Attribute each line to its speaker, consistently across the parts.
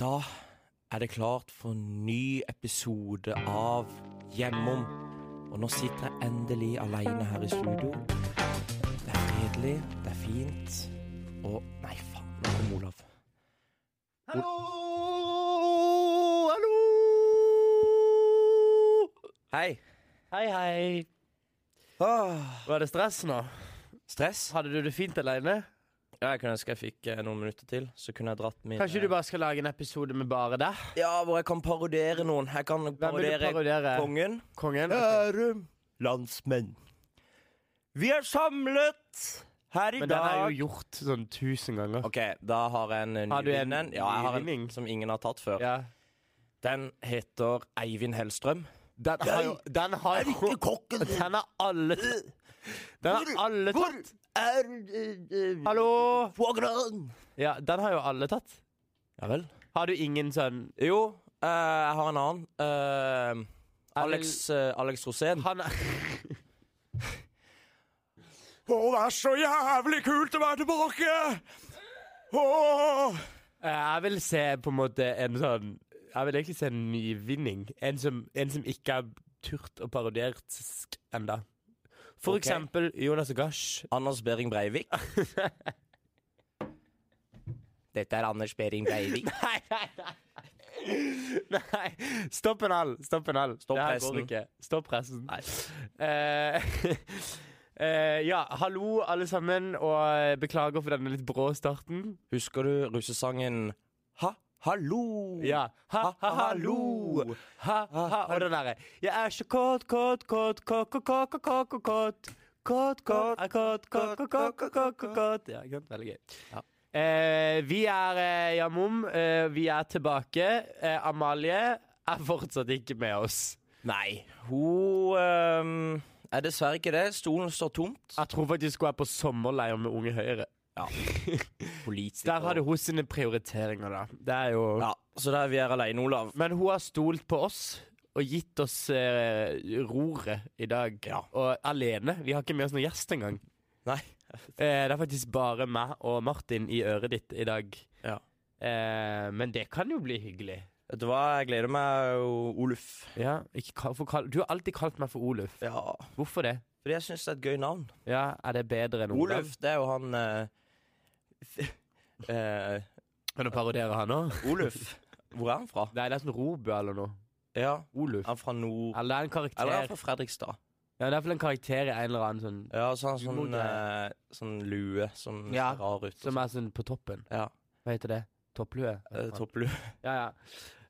Speaker 1: Da er det klart for ny episode av Hjemom. Og nå sitter jeg endelig alene her i studio. Det er fredelig, det er fint. Og nei, faen, nå kom Olav.
Speaker 2: Hallo! Hallo!
Speaker 1: Hei.
Speaker 2: Hei, hei.
Speaker 1: Åh,
Speaker 2: Var det stress nå?
Speaker 1: Ah. stress?
Speaker 2: Hadde du det fint alene?
Speaker 1: Ja, jeg kunne ønske jeg fikk eh, noen minutter til, så kunne jeg dratt min eh,
Speaker 2: Kanskje du bare skal lage en episode med bare deg?
Speaker 1: Ja, hvor jeg kan parodiere noen. Jeg kan
Speaker 2: Hvem vil du
Speaker 1: parodiere
Speaker 2: parodiere?
Speaker 1: kongen.
Speaker 2: Kongen?
Speaker 1: Kjære landsmenn. Vi er samlet her i
Speaker 2: Men den
Speaker 1: dag.
Speaker 2: er jo gjort sånn tusen ganger.
Speaker 1: Ok, da har jeg en eh,
Speaker 2: Har du en
Speaker 1: nyvinning. Ja, jeg har en
Speaker 2: nyvinning?
Speaker 1: som ingen har tatt før.
Speaker 2: Ja.
Speaker 1: Den heter Eivind Hellstrøm.
Speaker 2: Den har jo Den har jo
Speaker 1: kokken
Speaker 2: Den har alle Den har alle tatt.
Speaker 1: er
Speaker 2: eh, Hallo?
Speaker 1: Vågran?
Speaker 2: Ja, den har jo alle tatt.
Speaker 1: Ja vel.
Speaker 2: Har du ingen sånn
Speaker 1: Jo, eh, jeg har en annen. Eh, Alex, eh, Alex Rosén.
Speaker 2: Han er
Speaker 1: Å, det er så jævlig kult å være tilbake! Åh!
Speaker 2: Eh, Jeg vil se på en måte en sånn Jeg vil egentlig se en nyvinning. En som, en som ikke har turt å parodiere sk enda. For
Speaker 1: Ok.
Speaker 2: eksempel Jonas Gash.
Speaker 1: Anders Behring Breivik. Dette er Anders Behring Breivik.
Speaker 2: Nei, nei, nei. nei. Stopp en hal. Stopp en hal.
Speaker 1: Stopp
Speaker 2: Det her
Speaker 1: pressen.
Speaker 2: går ikke. Stopp pressen. Eh, eh, ja, hallo alle sammen, og beklager for denne litt brå starten.
Speaker 1: Husker du russesangen Ha, hallo?
Speaker 2: Ja. Ha, ha, hallo.
Speaker 1: hallo.
Speaker 2: Ha, ha. Og den derre Jeg er så kåt, kåt, kåt, kåt, kåt, kåt, kåt, kåt. Kåt, kåt, er kåt, kåt, kåt, kåt, kåt, kåt, kåt, kåt. Ja, ikke sant? Veldig gøy.
Speaker 1: Ja.
Speaker 2: Eh, vi er eh, Jamom. Eh, vi er tilbake. Eh, Amalie er fortsatt ikke med oss.
Speaker 1: Nei, hun øhm, er dessverre ikke det. Stolen står tomt.
Speaker 2: Jeg tror faktisk hun er på sommerleir med Unge Høyre.
Speaker 1: Ja. Politiker.
Speaker 2: Der hadde hun sine prioriteringer, da. Det er jo
Speaker 1: Ja, så der vi er alene, Olav.
Speaker 2: Men hun har stolt på oss og gitt oss eh, roret i dag. Og alene. Vi har ikke med oss noen gjest engang.
Speaker 1: Nei.
Speaker 2: Eh, det er faktisk bare meg og Martin i øret ditt i dag.
Speaker 1: Ja.
Speaker 2: Eh, men det kan jo bli hyggelig.
Speaker 1: Vet du hva, jeg gleder meg, O- Oluf.
Speaker 2: Ja, ikke kall, for kall, du har alltid kalt meg for Oluf.
Speaker 1: Ja.
Speaker 2: Hvorfor det?
Speaker 1: Fordi jeg syns det er et gøy navn.
Speaker 2: Ja, Er det bedre enn Olav?
Speaker 1: Oluf, det er jo han eh, f- eh,
Speaker 2: Kan du parodiere han òg?
Speaker 1: Oluf. Hvor er han fra?
Speaker 2: Nei, det er sånn Robø eller noe.
Speaker 1: Ja,
Speaker 2: Oluf.
Speaker 1: han er fra nord...
Speaker 2: Eller det er en karakter.
Speaker 1: Eller han er fra Fredrikstad.
Speaker 2: Ja, det er i hvert fall en karakter i en eller annen sånn
Speaker 1: Ja, så har han sånn,
Speaker 2: Humorgreier.
Speaker 1: eh, sånn lue som
Speaker 2: Ja,
Speaker 1: ser rar ut. og
Speaker 2: Som er sånn på toppen.
Speaker 1: sånn. ja.
Speaker 2: Hva heter det? Topplue?
Speaker 1: eh, Topplue.
Speaker 2: Ja, ja.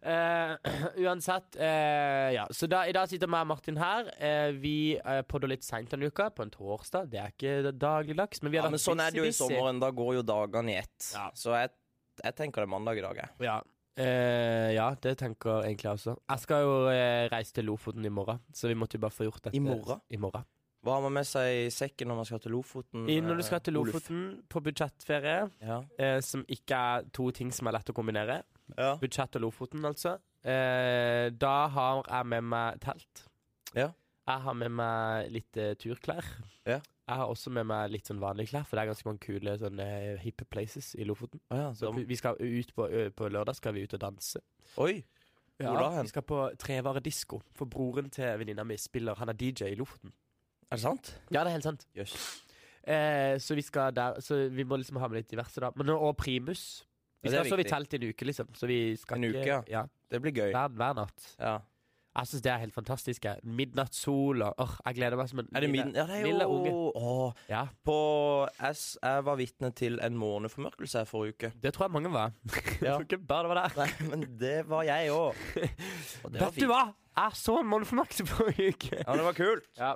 Speaker 2: Eh, uansett, eh, ja. Så da, i dag sitter meg og Martin her. Eh, vi uh, podder litt seint denne uka, på en torsdag. Det er ikke dagligdags, men vi har
Speaker 1: Ja, men sånn er det jo i
Speaker 2: busy, busy.
Speaker 1: sommeren. Da går jo dagene i ett.
Speaker 2: Ja.
Speaker 1: Så jeg, jeg tenker det er mandag i dag, jeg.
Speaker 2: Ja. Eh, ja, det tenker egentlig jeg også. Jeg skal jo eh, reise til Lofoten i morgen, så vi måtte jo bare få gjort dette.
Speaker 1: I morgen?
Speaker 2: I morgen.
Speaker 1: Hva har man med seg i sekken når man skal til Lofoten?
Speaker 2: I, når du skal til
Speaker 1: eh, Oluf?
Speaker 2: Lofoten på budsjettferie,
Speaker 1: Ja.
Speaker 2: eh, som ikke er to ting som er lett å kombinere,
Speaker 1: ja.
Speaker 2: Budsjett og Lofoten, altså. Eh, da har jeg med meg telt.
Speaker 1: Ja.
Speaker 2: Jeg har med meg litt eh, turklær.
Speaker 1: Ja.
Speaker 2: Jeg har også med meg litt sånn vanlige klær, for det er ganske mange kule sånne eh, hippe places i Lofoten.
Speaker 1: Å ja,
Speaker 2: Så
Speaker 1: da-
Speaker 2: vi skal ut på, ø, på lørdag skal vi ut og danse.
Speaker 1: Oi! Hvor da hen?
Speaker 2: Vi skal på trevaredisko, for broren til venninna mi spiller Han er DJ i Lofoten.
Speaker 1: Er det sant?
Speaker 2: Ja, det er helt sant.
Speaker 1: Jøss.
Speaker 2: Eh, så vi skal der Så vi må liksom ha med litt diverse, da. Men, og primus. Vi
Speaker 1: Ja, det er
Speaker 2: skal sove i
Speaker 1: viktig.
Speaker 2: telt i en uke, liksom. Så vi skal
Speaker 1: En uke, ja.
Speaker 2: ikke ja.
Speaker 1: Det blir gøy.
Speaker 2: Hver, hver natt.
Speaker 1: Ja.
Speaker 2: Jeg syns det er helt fantastisk. jeg. Midnattssol og åh, Jeg gleder meg som en
Speaker 1: Er det
Speaker 2: lille-
Speaker 1: min? Ja, det er
Speaker 2: lille unge.
Speaker 1: jo Åh,
Speaker 2: Ja,
Speaker 1: På S Jeg var vitne til en måneformørkelse her forrige uke.
Speaker 2: det tror jeg mange var.
Speaker 1: Ja.
Speaker 2: Ja. ikke bare det var der.
Speaker 1: Nei, men det var jeg òg. Og det var
Speaker 2: Vet du
Speaker 1: fint.
Speaker 2: hva? Jeg så en måneformørkelse forrige uke.
Speaker 1: Ja, men det var kult.
Speaker 2: Ja.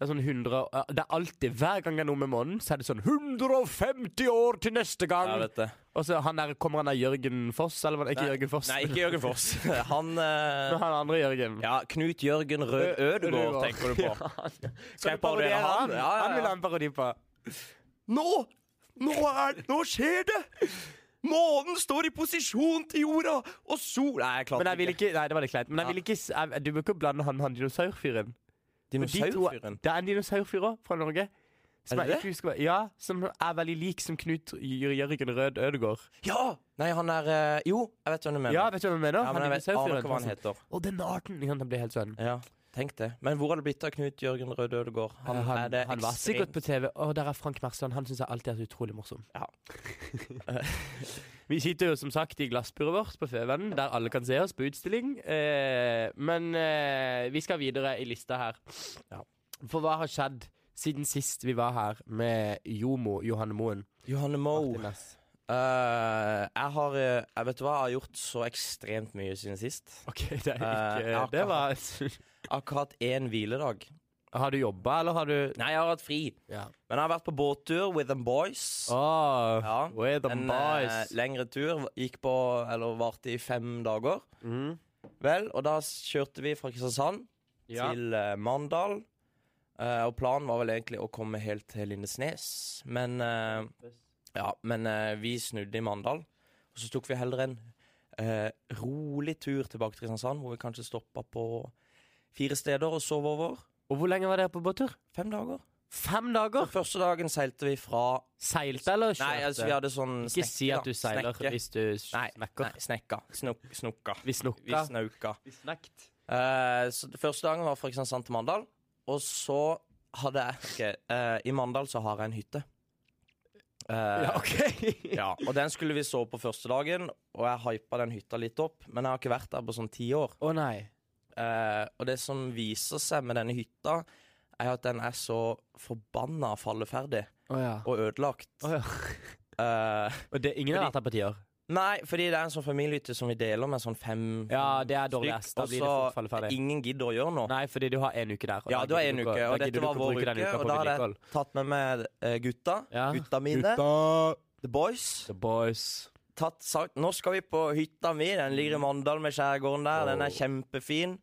Speaker 2: Det er sånn 100 og- ja, Det er alltid, Hver gang det er noe med månen, så er det sånn 150 år til neste
Speaker 1: Jeg
Speaker 2: gang!
Speaker 1: vet det.
Speaker 2: og så han der, kommer han der Jørgen Foss, eller var det ikke Jørgen Foss?
Speaker 1: Nei, ikke Jørgen Foss. Han eh,
Speaker 2: Men han andre Jørgen.
Speaker 1: Ja, Knut Jørgen Rød Ødegård,
Speaker 2: Ødegaard.
Speaker 1: tenker du på.
Speaker 2: Ja.
Speaker 1: Skal jeg parodiere han? Ja, ja,
Speaker 2: Han vil
Speaker 1: ja.
Speaker 2: ha en parodi på.
Speaker 1: Nå! Nå, er, nå skjer det! Månen står i posisjon til jorda, og sol Nei, jeg klarte
Speaker 2: Men jeg vil ikke, nei, det var litt kleint. Men jeg vil ikke, s- jeg, du bør ikke blande han, han dinosaurfyren. For de to-
Speaker 1: Dinosaurfyren?
Speaker 2: Det er en dinosaurfyr også, fra Norge. Som
Speaker 1: Er det
Speaker 2: jeg ikke husker hva- Ja, som er veldig lik som Knut Jør- Jørgen Rød Ødegård.
Speaker 1: Ja! Nei, han er eh, Jo, jeg vet hvem du mener.
Speaker 2: Ja, vet du hva jeg mener?
Speaker 1: Ja, men jeg vet aner ikke hva han
Speaker 2: heter.
Speaker 1: heter.
Speaker 2: altså. Å, den arten! Ja, han blir helt sånn.
Speaker 1: Ja, tenk det. Men hvor har det blitt av Knut Jørgen Røde Ødegård?
Speaker 2: Eh, han,
Speaker 1: er det
Speaker 2: han var
Speaker 1: ekstremt-
Speaker 2: sikkert på TV. Å, der er Frank Mersland. Han syns jeg alltid er så utrolig morsom.
Speaker 1: Ja.
Speaker 2: Vi sitter jo som sagt i glassburet vårt på Føvennen, der alle kan se oss på utstilling. Eh, men eh, vi skal videre i lista her. For hva har skjedd siden sist vi var her med Jomo Johanne Moen?
Speaker 1: Johanne Moe.
Speaker 2: Martin Næss?
Speaker 1: Eh, jeg har eh, Jeg vet du hva, jeg har gjort så ekstremt mye siden sist.
Speaker 2: OK, det er
Speaker 1: Eh,
Speaker 2: ikke
Speaker 1: jeg har
Speaker 2: Det
Speaker 1: ikke
Speaker 2: var
Speaker 1: Akkurat én hviledag.
Speaker 2: Har du jobba, eller har du
Speaker 1: Nei, jeg har hatt fri.
Speaker 2: Ja.
Speaker 1: Men jeg har vært på båttur with them boys.
Speaker 2: Åh,
Speaker 1: Ja.
Speaker 2: We're the
Speaker 1: En eh,
Speaker 2: boys.
Speaker 1: lengre tur gikk på, eller varte i fem dager.
Speaker 2: Mm.
Speaker 1: Vel, og da kjørte vi fra Kristiansand
Speaker 2: Ja.
Speaker 1: til eh, Mandal. Eh, og planen var vel egentlig å komme helt til Lindesnes, men eh, Ja, men eh, vi snudde i Mandal. Og så tok vi heller en eh, rolig tur tilbake til Kristiansand, hvor vi kanskje stoppa på fire steder og sov over.
Speaker 2: Og hvor lenge var dere på båttur?
Speaker 1: Fem dager.
Speaker 2: Fem dager?
Speaker 1: Den første dagen seilte vi fra
Speaker 2: Seilte eller kjørte?
Speaker 1: Nei, altså, vi hadde sånn
Speaker 2: Ikke si
Speaker 1: snekke,
Speaker 2: at du
Speaker 1: da.
Speaker 2: seiler
Speaker 1: Snekke.
Speaker 2: hvis du s-
Speaker 1: Nei,
Speaker 2: snakker.
Speaker 1: Nei, snekka. Snok, snokka.
Speaker 2: Vi
Speaker 1: Vi
Speaker 2: snukka.
Speaker 1: snauka.
Speaker 2: Vi snakket.
Speaker 1: Eh, så det første dagen var fra Kristiansand til Mandal. Og så hadde jeg ok, eh, I Mandal så har jeg en hytte. Eh,
Speaker 2: Ja, OK.
Speaker 1: ja, Og den skulle vi sove på første dagen, og jeg hypa den hytta litt opp. Men jeg har ikke vært der på sånn ti år.
Speaker 2: Å nei.
Speaker 1: Eh, og det som viser seg med denne hytta, er at den er så forbanna falleferdig
Speaker 2: Å ja.
Speaker 1: og ødelagt.
Speaker 2: Å, ja.
Speaker 1: Eh,
Speaker 2: Og det, ingen har vært her på ti år?
Speaker 1: nei, fordi det er en sånn familiehytte som vi deler med sånn fem
Speaker 2: Ja, det er dårlig
Speaker 1: Stryk,
Speaker 2: ass. Da blir det
Speaker 1: og så
Speaker 2: fort falleferdig.
Speaker 1: Ingen gidder å gjøre noe.
Speaker 2: Nei, fordi du har én uke der. og
Speaker 1: Ja,
Speaker 2: da
Speaker 1: du har
Speaker 2: gidder
Speaker 1: en
Speaker 2: ikke å-
Speaker 1: uke, og
Speaker 2: da
Speaker 1: dette
Speaker 2: gidder du
Speaker 1: var
Speaker 2: ikke å
Speaker 1: vår
Speaker 2: bruke den
Speaker 1: uke,
Speaker 2: uka
Speaker 1: og
Speaker 2: på
Speaker 1: da er det-
Speaker 2: vedlikehold.
Speaker 1: Tatt med meg eh, gutta.
Speaker 2: Ja.
Speaker 1: Gutta mine.
Speaker 2: Gutta.
Speaker 1: The boys.
Speaker 2: The boys.
Speaker 1: Tatt sagt, nå skal vi på hytta mi.
Speaker 2: Mm.
Speaker 1: Den ligger i Mandal med skjærgården der. Den er kjempefin.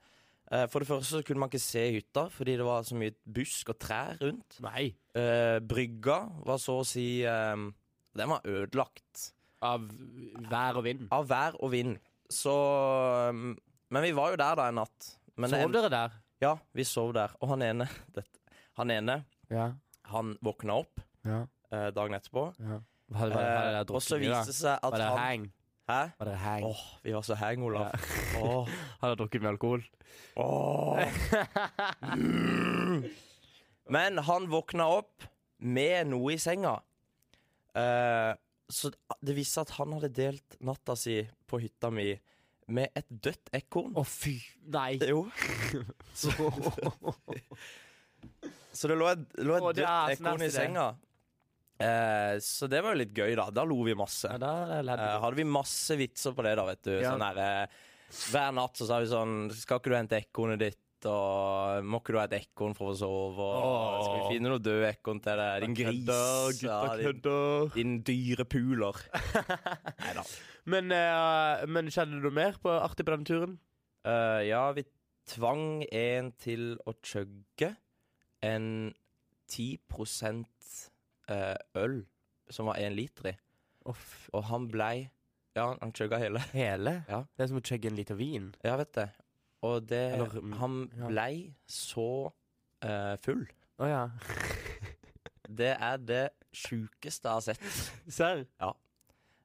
Speaker 1: Eh, For det første så kunne man ikke se hytta fordi det var så mye busk og trær rundt.
Speaker 2: Nei.
Speaker 1: Eh, Brygga var så å si eh, Den var ødelagt
Speaker 2: Av vær og vind.
Speaker 1: av vær og vind. Så eh, Men vi var jo der da en natt. Men det
Speaker 2: Sov
Speaker 1: endte-
Speaker 2: dere der?
Speaker 1: Ja, vi sov der. Og han ene, dette, han ene,
Speaker 2: Ja.
Speaker 1: han våkna opp
Speaker 2: ja.
Speaker 1: eh, dagen etterpå.
Speaker 2: Var, var, var, var
Speaker 1: Eh,
Speaker 2: dere
Speaker 1: og så
Speaker 2: drukket mye,
Speaker 1: viste
Speaker 2: da?
Speaker 1: det seg at
Speaker 2: Var
Speaker 1: han
Speaker 2: dere hang?
Speaker 1: Hæ?
Speaker 2: Var dere hang?
Speaker 1: Åh, vi var så hang, Olav. Åh.
Speaker 2: Har dere drukket mye alkohol?
Speaker 1: Åh. Mm. Men han våkna opp med noe i senga. Eh, så det viste seg at han hadde delt natta si på hytta mi med et dødt ekorn.
Speaker 2: Å, fy. Nei.
Speaker 1: Jo.
Speaker 2: Så,
Speaker 1: Så det lå et, lå et
Speaker 2: Åh, det
Speaker 1: dødt
Speaker 2: er så
Speaker 1: ekorn i
Speaker 2: nasty, det.
Speaker 1: senga. Eh, så det var jo litt gøy, da. Da lo vi masse.
Speaker 2: ja, da lærte
Speaker 1: Eh, hadde vi masse vitser på det, da, vet du.
Speaker 2: Ja.
Speaker 1: Sånn der, eh, hver natt så sa vi sånn Skal ikke du hente ekornet ditt? Og må ikke du ha et ekorn for å sove? Og,
Speaker 2: Åh.
Speaker 1: Skal vi finne noe død ekorn til deg? Din gris. ja, din,
Speaker 2: kødder.
Speaker 1: din dyre puler. Neida.
Speaker 2: Men, eh, men skjedde det noe mer på artig på denne turen?
Speaker 1: Eh, ja, vi tvang en til å chugge en 10 eh, øl som var én liter i. Og han blei Ja, han chugga hele.
Speaker 2: hele?
Speaker 1: Ja.
Speaker 2: Det er som å chugge en liter vin.
Speaker 1: Ja, vet det. Og det
Speaker 2: Eller, mm,
Speaker 1: Han
Speaker 2: ja.
Speaker 1: blei så eh, full.
Speaker 2: Å ja.
Speaker 1: Det er det sjukeste jeg har sett.
Speaker 2: Serr?
Speaker 1: Ja.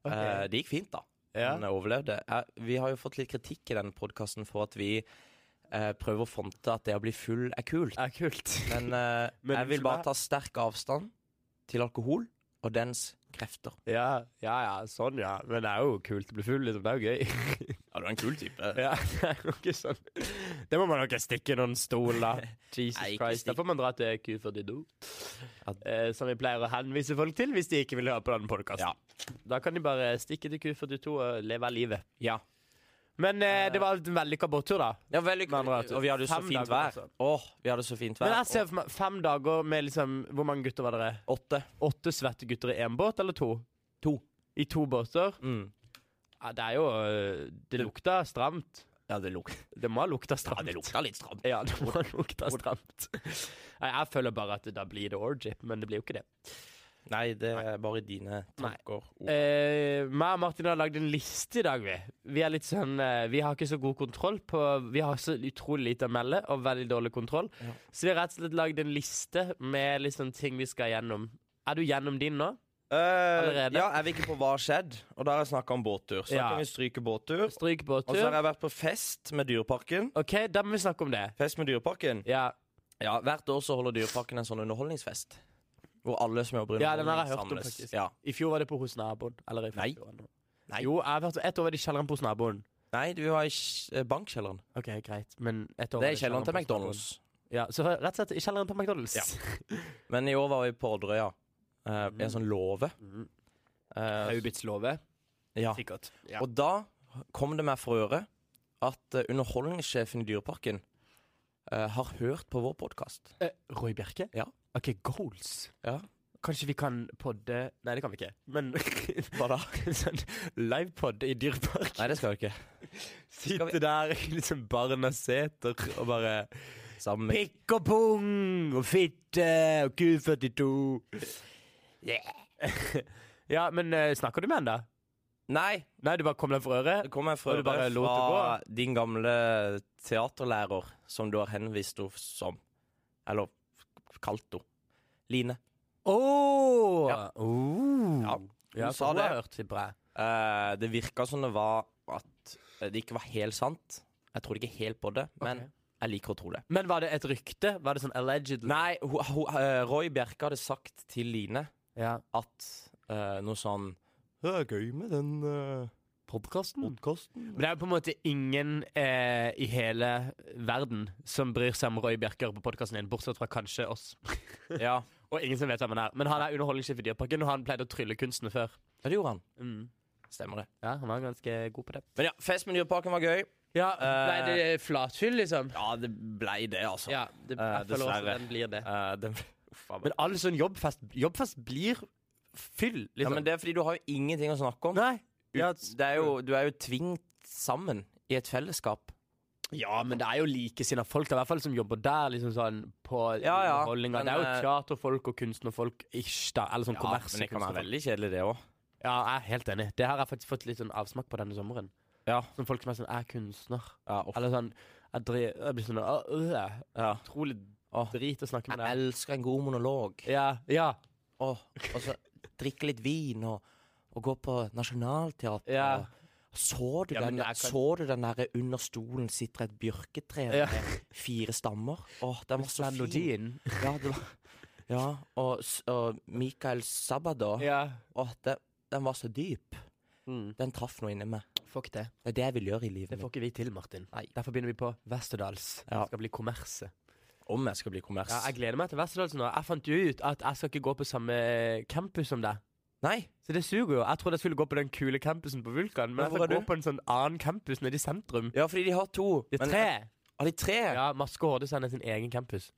Speaker 2: Ok.
Speaker 1: Eh, det gikk fint, da.
Speaker 2: ja.
Speaker 1: Han overlevde. Eh, vi har jo fått litt kritikk i denne podkasten for at vi eh, prøver å fronte at det å bli full er kult.
Speaker 2: Ja, kult.
Speaker 1: Men, eh,
Speaker 2: Men
Speaker 1: jeg vil
Speaker 2: unnskyld meg.
Speaker 1: bare ta sterk avstand til alkohol og dens krefter.
Speaker 2: Ja, ja, ja, sånn, ja. Men det er jo kult å bli full, liksom. Det er jo gøy.
Speaker 1: Ja, du er en kul type.
Speaker 2: ja, det er jo ikke sånn Det må man nok stikke i noen stol, da. Jesus
Speaker 1: Nei, ikke
Speaker 2: Christ. Da
Speaker 1: stikk.
Speaker 2: får man dra til Q42,
Speaker 1: Ja.
Speaker 2: eh, som vi pleier å henvise folk til hvis de ikke vil høre på denne podkasten. Da kan de bare stikke til Q42 og leve av livet.
Speaker 1: Ja.
Speaker 2: Men eh, det var en vellykka båttur, da.
Speaker 1: ja veldig
Speaker 2: Med andre ord,
Speaker 1: Og vi hadde jo så
Speaker 2: fem
Speaker 1: fint
Speaker 2: dager,
Speaker 1: vær.
Speaker 2: altså.
Speaker 1: Åh, vi hadde så fint
Speaker 2: Men
Speaker 1: vær.
Speaker 2: jeg ser for meg fem dager med liksom Hvor mange gutter var dere?
Speaker 1: Og åtte.
Speaker 2: Åtte svette gutter i én båt, eller to?
Speaker 1: To.
Speaker 2: I to båter?
Speaker 1: Mm.
Speaker 2: Ja, det er jo øh, Det lukta stramt.
Speaker 1: Ja, det lukta
Speaker 2: Det må ha lukta stramt.
Speaker 1: litt stramt.
Speaker 2: Ja, det må ha lukta stramt. Nei, jeg føler bare at da blir det orgy, men det blir jo ikke det.
Speaker 1: Nei, det er bare dine
Speaker 2: Nei.
Speaker 1: tanker. Ord.
Speaker 2: Eh, meg og Martin har lagd en liste i dag, vi. Vi er litt sånn eh, Vi har ikke så god kontroll på Vi har så utrolig lite å melde og veldig dårlig kontroll.
Speaker 1: Ja.
Speaker 2: Så vi har rett og slett lagd en liste med litt sånn ting vi skal gjennom. Er du gjennom din nå?
Speaker 1: Eh,
Speaker 2: allerede?
Speaker 1: ja, jeg vil ikke på hva har skjedd, og da har jeg snakka om båttur. Så
Speaker 2: Ja.
Speaker 1: da kan vi stryke båttur.
Speaker 2: Stryk på
Speaker 1: Og så har
Speaker 2: tur.
Speaker 1: jeg vært på fest med Dyreparken.
Speaker 2: OK, da må vi snakke om det.
Speaker 1: Fest med Dyreparken?
Speaker 2: Ja,
Speaker 1: Ja, Hvert år så holder Dyreparken en sånn underholdningsfest. Hvor alle som jobber i
Speaker 2: Ja, den har jeg
Speaker 1: underholdning
Speaker 2: hørt om,
Speaker 1: samles.
Speaker 2: faktisk.
Speaker 1: Ja.
Speaker 2: I fjor var det på hos naboen. Eller i
Speaker 1: Nei.
Speaker 2: forfjor.
Speaker 1: Nei.
Speaker 2: Jo, jeg har vært ett år var det i kjelleren på hos naboen.
Speaker 1: Nei, du var i kj- eh, bankkjelleren.
Speaker 2: OK, greit, men ett år
Speaker 1: Det
Speaker 2: var
Speaker 1: er i kjelleren til
Speaker 2: på hos naboen.
Speaker 1: McDonald's.
Speaker 2: Ja, Så rett og slett i kjelleren på McDonald's.
Speaker 1: Ja. Men i år var vi på Odderøya. eh, I en sånn låve.
Speaker 2: Mm.
Speaker 1: Eh,
Speaker 2: Haubits låve,
Speaker 1: ja.
Speaker 2: sikkert.
Speaker 1: Og da kom det meg for øre at eh, underholdningssjefen i Dyreparken eh, har hørt på vår podkast.
Speaker 2: Eh, Roy Bjerke?
Speaker 1: Ja.
Speaker 2: OK, goals.
Speaker 1: Ja.
Speaker 2: Kanskje vi kan podde Nei, det kan vi ikke. Men
Speaker 1: Hva da?
Speaker 2: sånn livepod i Dyrepark.
Speaker 1: Nei, det skal vi ikke.
Speaker 2: Sitte der i liksom barnas seter og bare
Speaker 1: Sammen med
Speaker 2: Pikk og pung og fitte og Q42. ja, men eh, snakker du med han da?
Speaker 1: Nei!
Speaker 2: Nei, du bare kom deg for øret?
Speaker 1: Det kom jeg fra,
Speaker 2: Og du bare lot det
Speaker 1: fra din gamle teaterlærer, som du har henvist henne som. Eller kalt henne. Line.
Speaker 2: Å!
Speaker 1: Ja.
Speaker 2: Oh.
Speaker 1: Ja,
Speaker 2: Ja,
Speaker 1: hun
Speaker 2: for
Speaker 1: sa
Speaker 2: hun
Speaker 1: det.
Speaker 2: har hørt, tipper jeg.
Speaker 1: Eh, det virka som det var at eh, det ikke var helt sant. Jeg trodde ikke helt på det, men
Speaker 2: Ok.
Speaker 1: jeg liker å tro det.
Speaker 2: Men var det et rykte? Var det sånn allegedly?
Speaker 1: Nei, ho, ho, eh, Roy Bjerke hadde sagt til Line
Speaker 2: Ja.
Speaker 1: at eh, noe sånn Det er gøy med den uh,
Speaker 2: Podkasten?
Speaker 1: podkasten.
Speaker 2: Men det er jo på en måte ingen eh, i hele verden som bryr seg om Roy Bjerker på podkasten din, bortsett fra kanskje oss.
Speaker 1: Ja.
Speaker 2: Og ingen som vet hvem han er. Men han er underholdningssjef i Dyreparken, og han pleide å trylle kunstene før.
Speaker 1: Ja, Det gjorde han.
Speaker 2: Mm.
Speaker 1: Stemmer det.
Speaker 2: Ja, han var ganske god på det.
Speaker 1: Men ja, fest med Dyreparken var gøy.
Speaker 2: Ja,
Speaker 1: Eh,
Speaker 2: Ble det flatfyll, liksom?
Speaker 1: Ja, det blei det, altså.
Speaker 2: Ja, det,
Speaker 1: eh,
Speaker 2: jeg føler også
Speaker 1: dessverre.
Speaker 2: at den blir det.
Speaker 1: Eh, den ble, uff, faen.
Speaker 2: Men all sånn jobbfest Jobbfest blir fyll,
Speaker 1: ja,
Speaker 2: liksom.
Speaker 1: men det er fordi du har jo ingenting å snakke om.
Speaker 2: Nei. Ja,
Speaker 1: Ut- det er jo, du er jo tvingt sammen i et fellesskap.
Speaker 2: ja, men det er jo likesinna folk, da, i hvert fall som jobber der, liksom sånn på
Speaker 1: Ja, ja,
Speaker 2: underholdninga.
Speaker 1: men,
Speaker 2: det er jo
Speaker 1: eh,
Speaker 2: teaterfolk og kunstnerfolk, ish, da. Eller sånn kommers.
Speaker 1: men det kan være
Speaker 2: kunstnerfolk.
Speaker 1: veldig kjedelig, det òg.
Speaker 2: Ja, jeg er helt enig. Det har jeg faktisk fått litt sånn avsmak på denne sommeren.
Speaker 1: Ja.
Speaker 2: Sånn folk som er sånn Jeg er kunstner.
Speaker 1: Ja, uff.
Speaker 2: Eller sånn Jeg, dri, jeg blir sånn «Åh, øh,
Speaker 1: Ja.
Speaker 2: Utrolig
Speaker 1: Åh.
Speaker 2: drit å snakke med
Speaker 1: Jeg
Speaker 2: deg.
Speaker 1: elsker en god monolog.
Speaker 2: Ja, ja,
Speaker 1: Og, og så drikke litt vin og, og gå på Nationaltheatret.
Speaker 2: Ja.
Speaker 1: og- Så du,
Speaker 2: Ja, men
Speaker 1: den,
Speaker 2: jeg kan-
Speaker 1: så du den derre under stolen sitter et bjørketre
Speaker 2: Ja.
Speaker 1: med fire stammer? Åh, den var så fin.
Speaker 2: Melodien.
Speaker 1: Ja, det var, ja og, s- og Mikael Sabada.
Speaker 2: Ja.
Speaker 1: Åh, den, den var så dyp.
Speaker 2: Mm.
Speaker 1: Den traff noe inni meg.
Speaker 2: Fuck det.
Speaker 1: Det er det jeg vil gjøre i
Speaker 2: Det
Speaker 1: livet mitt.
Speaker 2: får ikke vi til, Martin. Derfor begynner vi på Westerdals.
Speaker 1: Ja.
Speaker 2: Det skal bli kommerse.
Speaker 1: Om jeg skal bli kommers.
Speaker 2: Ja, jeg gleder meg til Westerdals nå. Jeg fant jo ut at jeg skal ikke gå på samme campus som deg.
Speaker 1: Nei,
Speaker 2: Så det suger jo. Jeg trodde jeg skulle gå på den kule campusen på Vulkan, men
Speaker 1: Men
Speaker 2: jeg
Speaker 1: hvor
Speaker 2: skal
Speaker 1: er
Speaker 2: gå
Speaker 1: du?
Speaker 2: på en sånn annen campus nede i sentrum.
Speaker 1: ja, fordi de har to.
Speaker 2: Det er
Speaker 1: Men-
Speaker 2: tre.
Speaker 1: Ah, de tre?
Speaker 2: Ja, Maske og Hordesand er sin egen campus.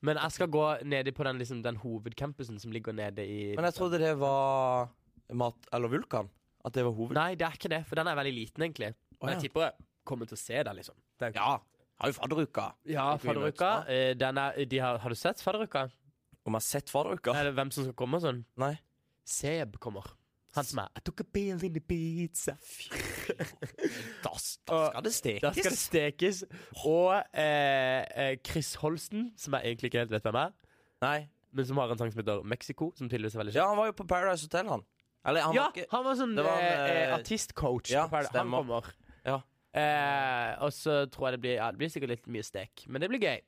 Speaker 2: Men jeg skal gå nede på den, liksom, den hovedcampusen som ligger nede i
Speaker 1: Men jeg trodde det var mat... Eller vulkan. At det var hoved...
Speaker 2: Nei, det er ikke det, for den er veldig liten, egentlig. Men
Speaker 1: ja.
Speaker 2: jeg tipper jeg kommer til å se den, liksom. Den,
Speaker 1: Ja, har jo fadderuka.
Speaker 2: Ja,
Speaker 1: Ikke vi møtes da?
Speaker 2: fadderuka. eh, den er- de har, har du sett fadderuka?
Speaker 1: Om jeg har sett fadderuka?
Speaker 2: Er det hvem som skal komme og sånn?
Speaker 1: Nei.
Speaker 2: Seb kommer. Han som er I took a bill in the pizza.
Speaker 1: Da,
Speaker 2: Og-
Speaker 1: skal det stekes.
Speaker 2: Da skal det stekes. Og eh, eh, Chris Holsten, som jeg egentlig ikke helt vet hvem er,
Speaker 1: Nei.
Speaker 2: men som har en sang som heter Mexico, som tydeligvis er veldig kjent.
Speaker 1: Ja, han var jo på Paradise Hotel, han. Eller, han
Speaker 2: ja,
Speaker 1: var ikke
Speaker 2: han var sånn
Speaker 1: Det var
Speaker 2: eh,
Speaker 1: en,
Speaker 2: eh,
Speaker 1: eh,
Speaker 2: artistcoach.
Speaker 1: ja,
Speaker 2: på Paradise. han
Speaker 1: stemmer.
Speaker 2: kommer.
Speaker 1: Ja.
Speaker 2: Eh, og så tror jeg det blir Ja, det blir sikkert litt mye stek, men det blir gøy.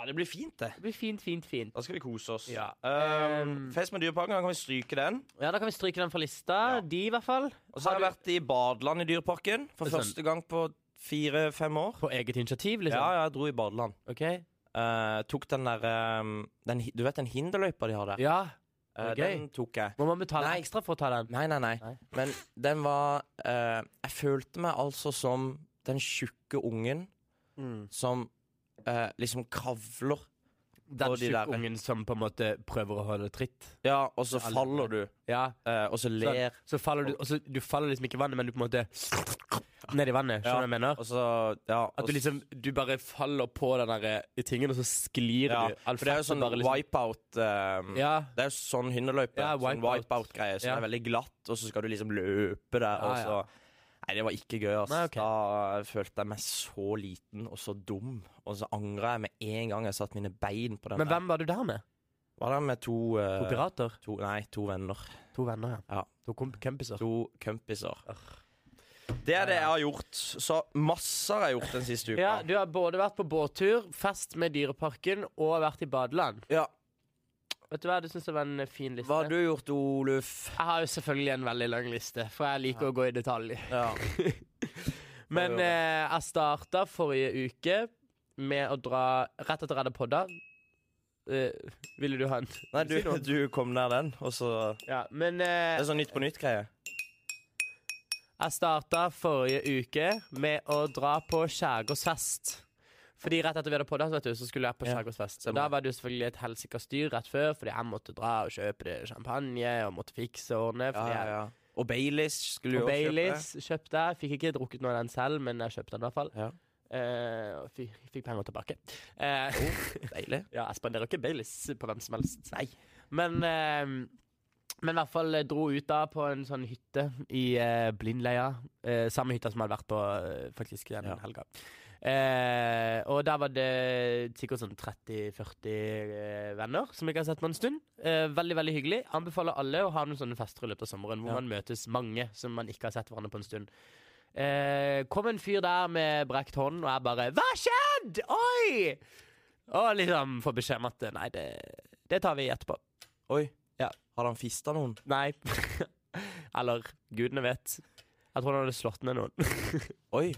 Speaker 1: Ja, det blir fint, det.
Speaker 2: Det blir fint, fint, fint.
Speaker 1: Da skal vi kose oss.
Speaker 2: Ja.
Speaker 1: Ehm,
Speaker 2: Ehm.
Speaker 1: fest med Dyreparken, da kan vi stryke den.
Speaker 2: Ja, da kan vi stryke den fra lista.
Speaker 1: Ja.
Speaker 2: De, i hvert fall.
Speaker 1: Og så har jeg
Speaker 2: Har
Speaker 1: vært i Badeland i Dyreparken for
Speaker 2: Sånn.
Speaker 1: første gang på fire-fem år.
Speaker 2: På eget initiativ,
Speaker 1: Ja,
Speaker 2: liksom?
Speaker 1: ja, jeg dro i Badeland.
Speaker 2: Ok.
Speaker 1: Eh, tok den der ehm, den, hi- Du vet den hinderløypa de har der?
Speaker 2: Ja.
Speaker 1: Eh,
Speaker 2: gøy.
Speaker 1: den tok jeg.
Speaker 2: Må man betale
Speaker 1: Nei.
Speaker 2: ekstra for å ta den?
Speaker 1: Nei, nei, nei.
Speaker 2: Nei.
Speaker 1: Men den var eh, Jeg følte meg altså som den tjukke ungen
Speaker 2: Mm.
Speaker 1: som eh, liksom kavler,
Speaker 2: Den
Speaker 1: Og de der-
Speaker 2: tjukke ungen som på en måte prøver å holde tritt?
Speaker 1: ja, og så
Speaker 2: Ja, alle-
Speaker 1: faller du,
Speaker 2: Ja.
Speaker 1: eh, og så ler
Speaker 2: altså, Så faller du, og så, du faller liksom ikke i vannet, men du på en måte nedi vannet. Skjønner du hva jeg mener?
Speaker 1: Og så, ja,
Speaker 2: At du
Speaker 1: og s-
Speaker 2: liksom Du bare faller på den der eh, tingen, og så sklir
Speaker 1: ja,
Speaker 2: du. All
Speaker 1: For det er jo
Speaker 2: fett
Speaker 1: sånn
Speaker 2: bare liksom- Mm.
Speaker 1: wipeout eh,
Speaker 2: Ja.
Speaker 1: Det er jo sånn hinderløype.
Speaker 2: Ja,
Speaker 1: sånn
Speaker 2: wipeout.
Speaker 1: wipeout-greie som
Speaker 2: Ja.
Speaker 1: er veldig glatt, og så skal du liksom løpe der,
Speaker 2: Ja, ja.
Speaker 1: og så Nei, det var ikke gøy. ass.
Speaker 2: Nei, ok.
Speaker 1: Da følte jeg meg så liten og så dum. Og så angra jeg med en gang jeg satte mine bein på den.
Speaker 2: Men hvem var du der med?
Speaker 1: der. Var det med to, eh,
Speaker 2: To pirater?
Speaker 1: to Nei, to venner.
Speaker 2: To venner, ja.
Speaker 1: Ja.
Speaker 2: To kom- kompiser.
Speaker 1: To kompiser. Det er det jeg har gjort. Så masse har jeg gjort den siste uka.
Speaker 2: Ja, du har både vært på båttur, fest med Dyreparken og vært i badeland.
Speaker 1: Ja.
Speaker 2: Vet du hva, det syns jeg var en fin liste.
Speaker 1: Hva har du gjort, Oluf?
Speaker 2: Jeg har jo selvfølgelig en veldig lang liste, for jeg liker å gå i detalj.
Speaker 1: Ja.
Speaker 2: Men
Speaker 1: Ja, det gjør
Speaker 2: eh, jeg starta forrige uke med å dra rett etter jeg hadde podda. Eh, ville du ha en?
Speaker 1: Nei, du,
Speaker 2: Vil si noe?
Speaker 1: du kom nær den, og så
Speaker 2: Ja, men
Speaker 1: Det
Speaker 2: eh,
Speaker 1: er sånn Nytt på nytt-greie.
Speaker 2: jeg starta forrige uke med å dra på skjærgårdsfest. Fordi rett etter vi hadde podda, så, vet du, så skulle jeg på
Speaker 1: Ja,
Speaker 2: skjærgårdsfest. Og
Speaker 1: stemmer.
Speaker 2: da var det jo selvfølgelig et helsikas styr rett før, fordi jeg måtte dra og kjøpe det champagne og måtte fikse og ordne. Fordi jeg
Speaker 1: Og Baileys skulle jo
Speaker 2: Og
Speaker 1: også
Speaker 2: Baileys kjøpte jeg. Fikk ikke drukket noe av den selv, men jeg kjøpte den i hvert fall.
Speaker 1: Ja.
Speaker 2: Eh, og fikk, fikk penger tilbake. Eh,
Speaker 1: kjøpe. Deilig.
Speaker 2: ja, jeg spanderer ikke Baileys på hvem som helst. Nei. Men, eh, men i hvert fall eh, dro ut da på en sånn hytte i eh, Blindleia. Eh, samme hytta som jeg hadde vært på eh, faktisk den
Speaker 1: Ja.
Speaker 2: helga. Eh, og der var det sikkert sånn 30-40 eh, venner som jeg ikke har sett på en stund. Eh, veldig veldig hyggelig. Anbefaler alle å ha noen sånne fester i løpet av sommeren hvor
Speaker 1: Ja.
Speaker 2: man møtes mange som man ikke har sett hverandre på en stund. Eh, kom en fyr der med brekt hånd, og jeg bare 'Hva skjedd?! Oi!' Og liksom får beskjed om at 'nei, det, det tar vi etterpå'.
Speaker 1: Oi.
Speaker 2: Ja.
Speaker 1: Hadde han fista noen?
Speaker 2: Nei. Eller gudene vet. Jeg tror han hadde slått ned noen.
Speaker 1: Oi.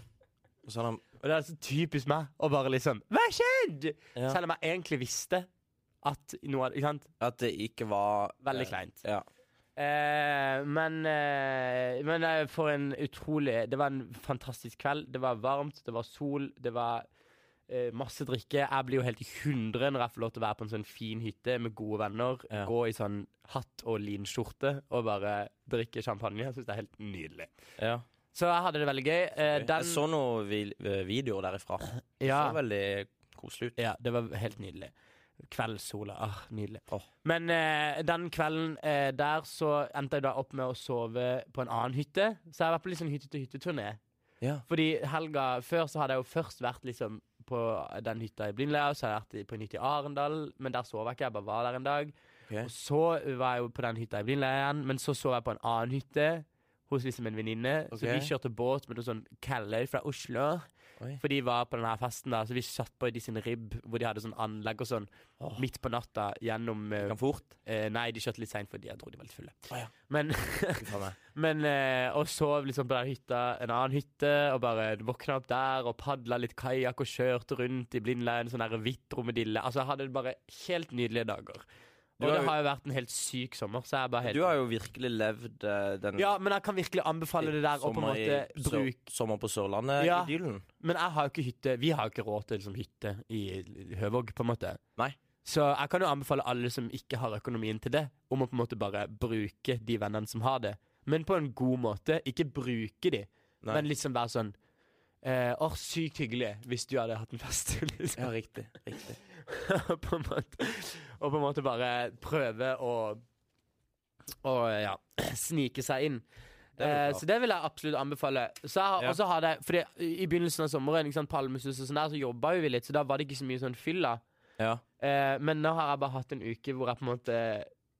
Speaker 1: Og så hadde han
Speaker 2: Og det er så typisk meg å bare liksom 'Hva skjedde?'
Speaker 1: Ja.
Speaker 2: Selv om jeg egentlig visste at noe hadde Ikke sant?
Speaker 1: At det ikke var
Speaker 2: Veldig
Speaker 1: eh,
Speaker 2: kleint.
Speaker 1: Ja.
Speaker 2: Eh, men eh, men eh, for en utrolig Det var en fantastisk kveld. Det var varmt, det var sol, det var eh, masse drikke. Jeg blir jo helt i hundre når jeg får lov til å være på en sånn fin hytte med gode venner.
Speaker 1: Ja.
Speaker 2: Gå i sånn hatt og linskjorte og bare drikke champagne. Jeg syns det er helt nydelig.
Speaker 1: ja.
Speaker 2: Så jeg hadde det veldig gøy. Eh,
Speaker 1: Jeg
Speaker 2: den
Speaker 1: så noen vi- eh, videoer derifra. Det
Speaker 2: ja.
Speaker 1: så veldig koselig ut.
Speaker 2: Ja, det var helt nydelig. Kveldssola. Ah, nydelig.
Speaker 1: Åh.
Speaker 2: Men eh, den kvelden eh, der så endte jeg da opp med å sove på en annen hytte. Så jeg har vært på litt sånn hytte-til-hytte-turné.
Speaker 1: Ja.
Speaker 2: Fordi helga før så hadde jeg jo først vært liksom på den hytta i Blindleia, og så hadde jeg vært i- på en hytte i Arendal, men der sov jeg ikke, jeg bare var der en dag.
Speaker 1: Ok.
Speaker 2: Og så var jeg jo på den hytta i Blindleia igjen, men så sov jeg på en annen hytte hos liksom en venninne. Så
Speaker 1: Ok.
Speaker 2: vi kjørte båt med noen sånn Kelløy fra Oslo.
Speaker 1: Oi.
Speaker 2: For de var på denne festen der, så vi satt på de sin ribb, hvor de hadde sånn anlegg og sånn,
Speaker 1: Åh.
Speaker 2: midt på natta gjennom eh,
Speaker 1: Kan fort.
Speaker 2: eh, Nei, de kjørte litt seint, fordi jeg tror de var litt fulle.
Speaker 1: Å ja.
Speaker 2: Men,
Speaker 1: Fy faen meg.
Speaker 2: men eh, og sov liksom på den hytta, en annen hytte, og bare våkna opp der og padla litt kajakk og kjørte rundt i Blindleien, sånn der hvitt romedille. Altså, jeg hadde bare helt nydelige dager.
Speaker 1: Du
Speaker 2: Og
Speaker 1: har
Speaker 2: det
Speaker 1: jo-
Speaker 2: har jo vært en helt syk sommer, så jeg er bare helt
Speaker 1: Du har jo virkelig levd eh, den
Speaker 2: Ja, men jeg kan virkelig anbefale det der, og på en
Speaker 1: sommer i-
Speaker 2: måte
Speaker 1: så-
Speaker 2: bruke
Speaker 1: Sommer på Sørlandet,
Speaker 2: Ja.
Speaker 1: idyllen.
Speaker 2: Men jeg har jo ikke hytte Vi har jo ikke råd til liksom, hytte i Høvåg, på en måte.
Speaker 1: Nei.
Speaker 2: Så jeg kan jo anbefale alle som ikke har økonomien til det, om å på en måte bare bruke de vennene som har det. Men på en god måte. Ikke bruke de,
Speaker 1: Nei.
Speaker 2: men liksom være sånn eh, Åh, sykt hyggelig hvis du hadde hatt en fest. Liksom.
Speaker 1: Ja, riktig. riktig.
Speaker 2: på en måte. Og på en måte bare prøve å Å, ja Snike seg inn.
Speaker 1: er jo
Speaker 2: Eh,
Speaker 1: klart.
Speaker 2: så det vil jeg absolutt anbefale. Så jeg, har-
Speaker 1: Ja.
Speaker 2: Og så har det, fordi I begynnelsen av sommeren ikke sant, Palmesus og sånn der, så jobba jo vi litt, så da var det ikke så mye sånn fylla.
Speaker 1: Ja.
Speaker 2: Eh, men nå har jeg bare hatt en uke hvor jeg på en måte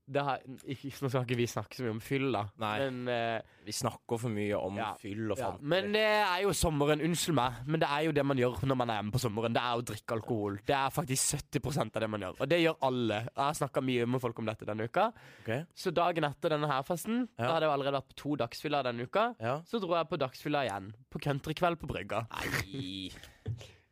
Speaker 2: det har, ikke, Nå skal ikke vi snakke så mye om fylla,
Speaker 1: Nei.
Speaker 2: men, eh,
Speaker 1: Vi snakker for mye om
Speaker 2: Ja.
Speaker 1: fyll og
Speaker 2: ja.
Speaker 1: fanteri.
Speaker 2: men eh, det er jo sommeren. Unnskyld meg, men det er jo det man gjør når man er hjemme på sommeren. Det er å drikke alkohol. Det er faktisk 70 av det man gjør, og det gjør alle. Jeg har snakka mye med folk om dette denne uka.
Speaker 1: Ok.
Speaker 2: Så dagen etter denne her festen,
Speaker 1: Ja.
Speaker 2: da hadde jeg jo allerede vært på to dagsfyller denne uka.
Speaker 1: Ja.
Speaker 2: Så dro jeg på dagsfylla igjen, på countrykveld på brygga.
Speaker 1: Nei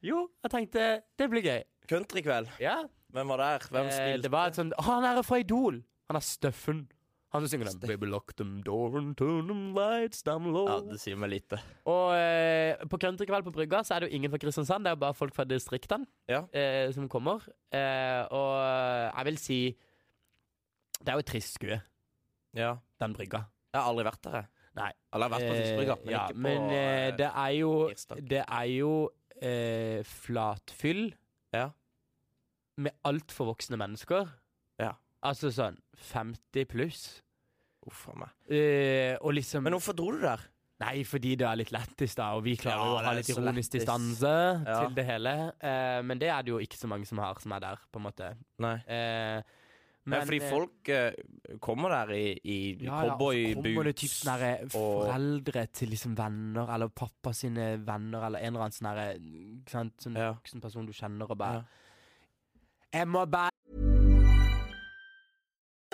Speaker 2: Jo, jeg tenkte det blir gøy.
Speaker 1: Countrykveld.
Speaker 2: Ja.
Speaker 1: Hvem var der? Hvem
Speaker 2: Eh,
Speaker 1: spilte?
Speaker 2: det var et sånt Å, han her er fra Idol! Han er Steffen. Han som synger den Baby lock them door and turn them lights down low.
Speaker 1: Ja, det sier meg lite.
Speaker 2: Og eh, på countrykveld på brygga så er det jo ingen fra Kristiansand, det er jo bare folk fra distriktene
Speaker 1: Ja.
Speaker 2: eh, som kommer. Eh, og jeg vil si Det er jo et trist skue,
Speaker 1: Ja.
Speaker 2: den brygga.
Speaker 1: Jeg har aldri vært der, jeg.
Speaker 2: Nei. Eh,
Speaker 1: Eller jeg har vært på Fiskebrygga, men
Speaker 2: ja,
Speaker 1: ikke på
Speaker 2: men eh,
Speaker 1: eh,
Speaker 2: det er jo
Speaker 1: tirsdag.
Speaker 2: Det er jo eh, flatfyll
Speaker 1: Ja.
Speaker 2: med altfor voksne mennesker.
Speaker 1: Ja.
Speaker 2: Altså sånn 50 pluss.
Speaker 1: Uff a meg.
Speaker 2: Eh, og liksom
Speaker 1: Men hvorfor dro du der?
Speaker 2: Nei, fordi det er litt lættis, da, og vi klarer
Speaker 1: Ja,
Speaker 2: jo å
Speaker 1: det
Speaker 2: ha
Speaker 1: er
Speaker 2: litt
Speaker 1: så
Speaker 2: ironisk
Speaker 1: lættis.
Speaker 2: distanse
Speaker 1: Ja.
Speaker 2: til det hele. Eh, men det er det jo ikke så mange som har, som er der, på en måte.
Speaker 1: Nei.
Speaker 2: Eh,
Speaker 1: Men, fordi
Speaker 2: eh,
Speaker 1: folk eh, kommer der i, i
Speaker 2: ja, ja, og så kommer det typ
Speaker 1: cowboyboots
Speaker 2: sånne her eh,
Speaker 1: og-
Speaker 2: foreldre til liksom venner, eller pappa sine venner, eller en eller annen sånn herre Ikke sant, sånn
Speaker 1: Ja.
Speaker 2: voksen person du kjenner, og bare Jeg må bare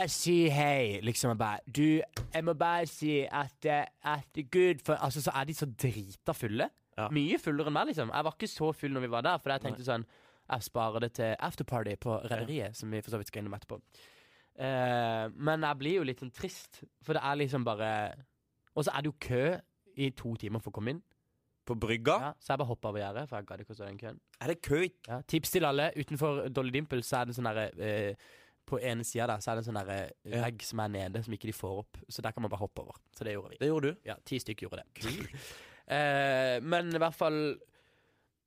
Speaker 2: Jeg sier hei, liksom. Jeg bare Du, jeg må bare si at, eh, at Gud for, Altså, så er de så drita fulle.
Speaker 1: Ja.
Speaker 2: Mye fullere enn meg, liksom. Jeg var ikke så full når vi var der, for jeg tenkte sånn Jeg sparer det til afterparty på Rederiet, som vi for så vidt skal innom etterpå. Eh, men jeg blir jo litt sånn trist, for det er liksom bare Og så er det jo kø i to timer for å komme inn.
Speaker 1: på brygga.
Speaker 2: Ja, så jeg bare hoppa over gjerdet, for jeg gadd ikke å stå i den køen.
Speaker 1: Er det kø? i-
Speaker 2: Ja, tips til alle. Utenfor Dolly Dimple så er det en sånn derre eh, På ene sida der så er det en sånn derre
Speaker 1: Ja.
Speaker 2: vegg som er nede, som ikke de får opp. Så der kan man bare hoppe over. Så det gjorde vi.
Speaker 1: Det gjorde du.
Speaker 2: Ja, ti stykker gjorde det. eh, men i hvert fall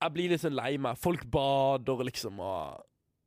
Speaker 2: Jeg blir litt sånn lei meg. Folk bader liksom og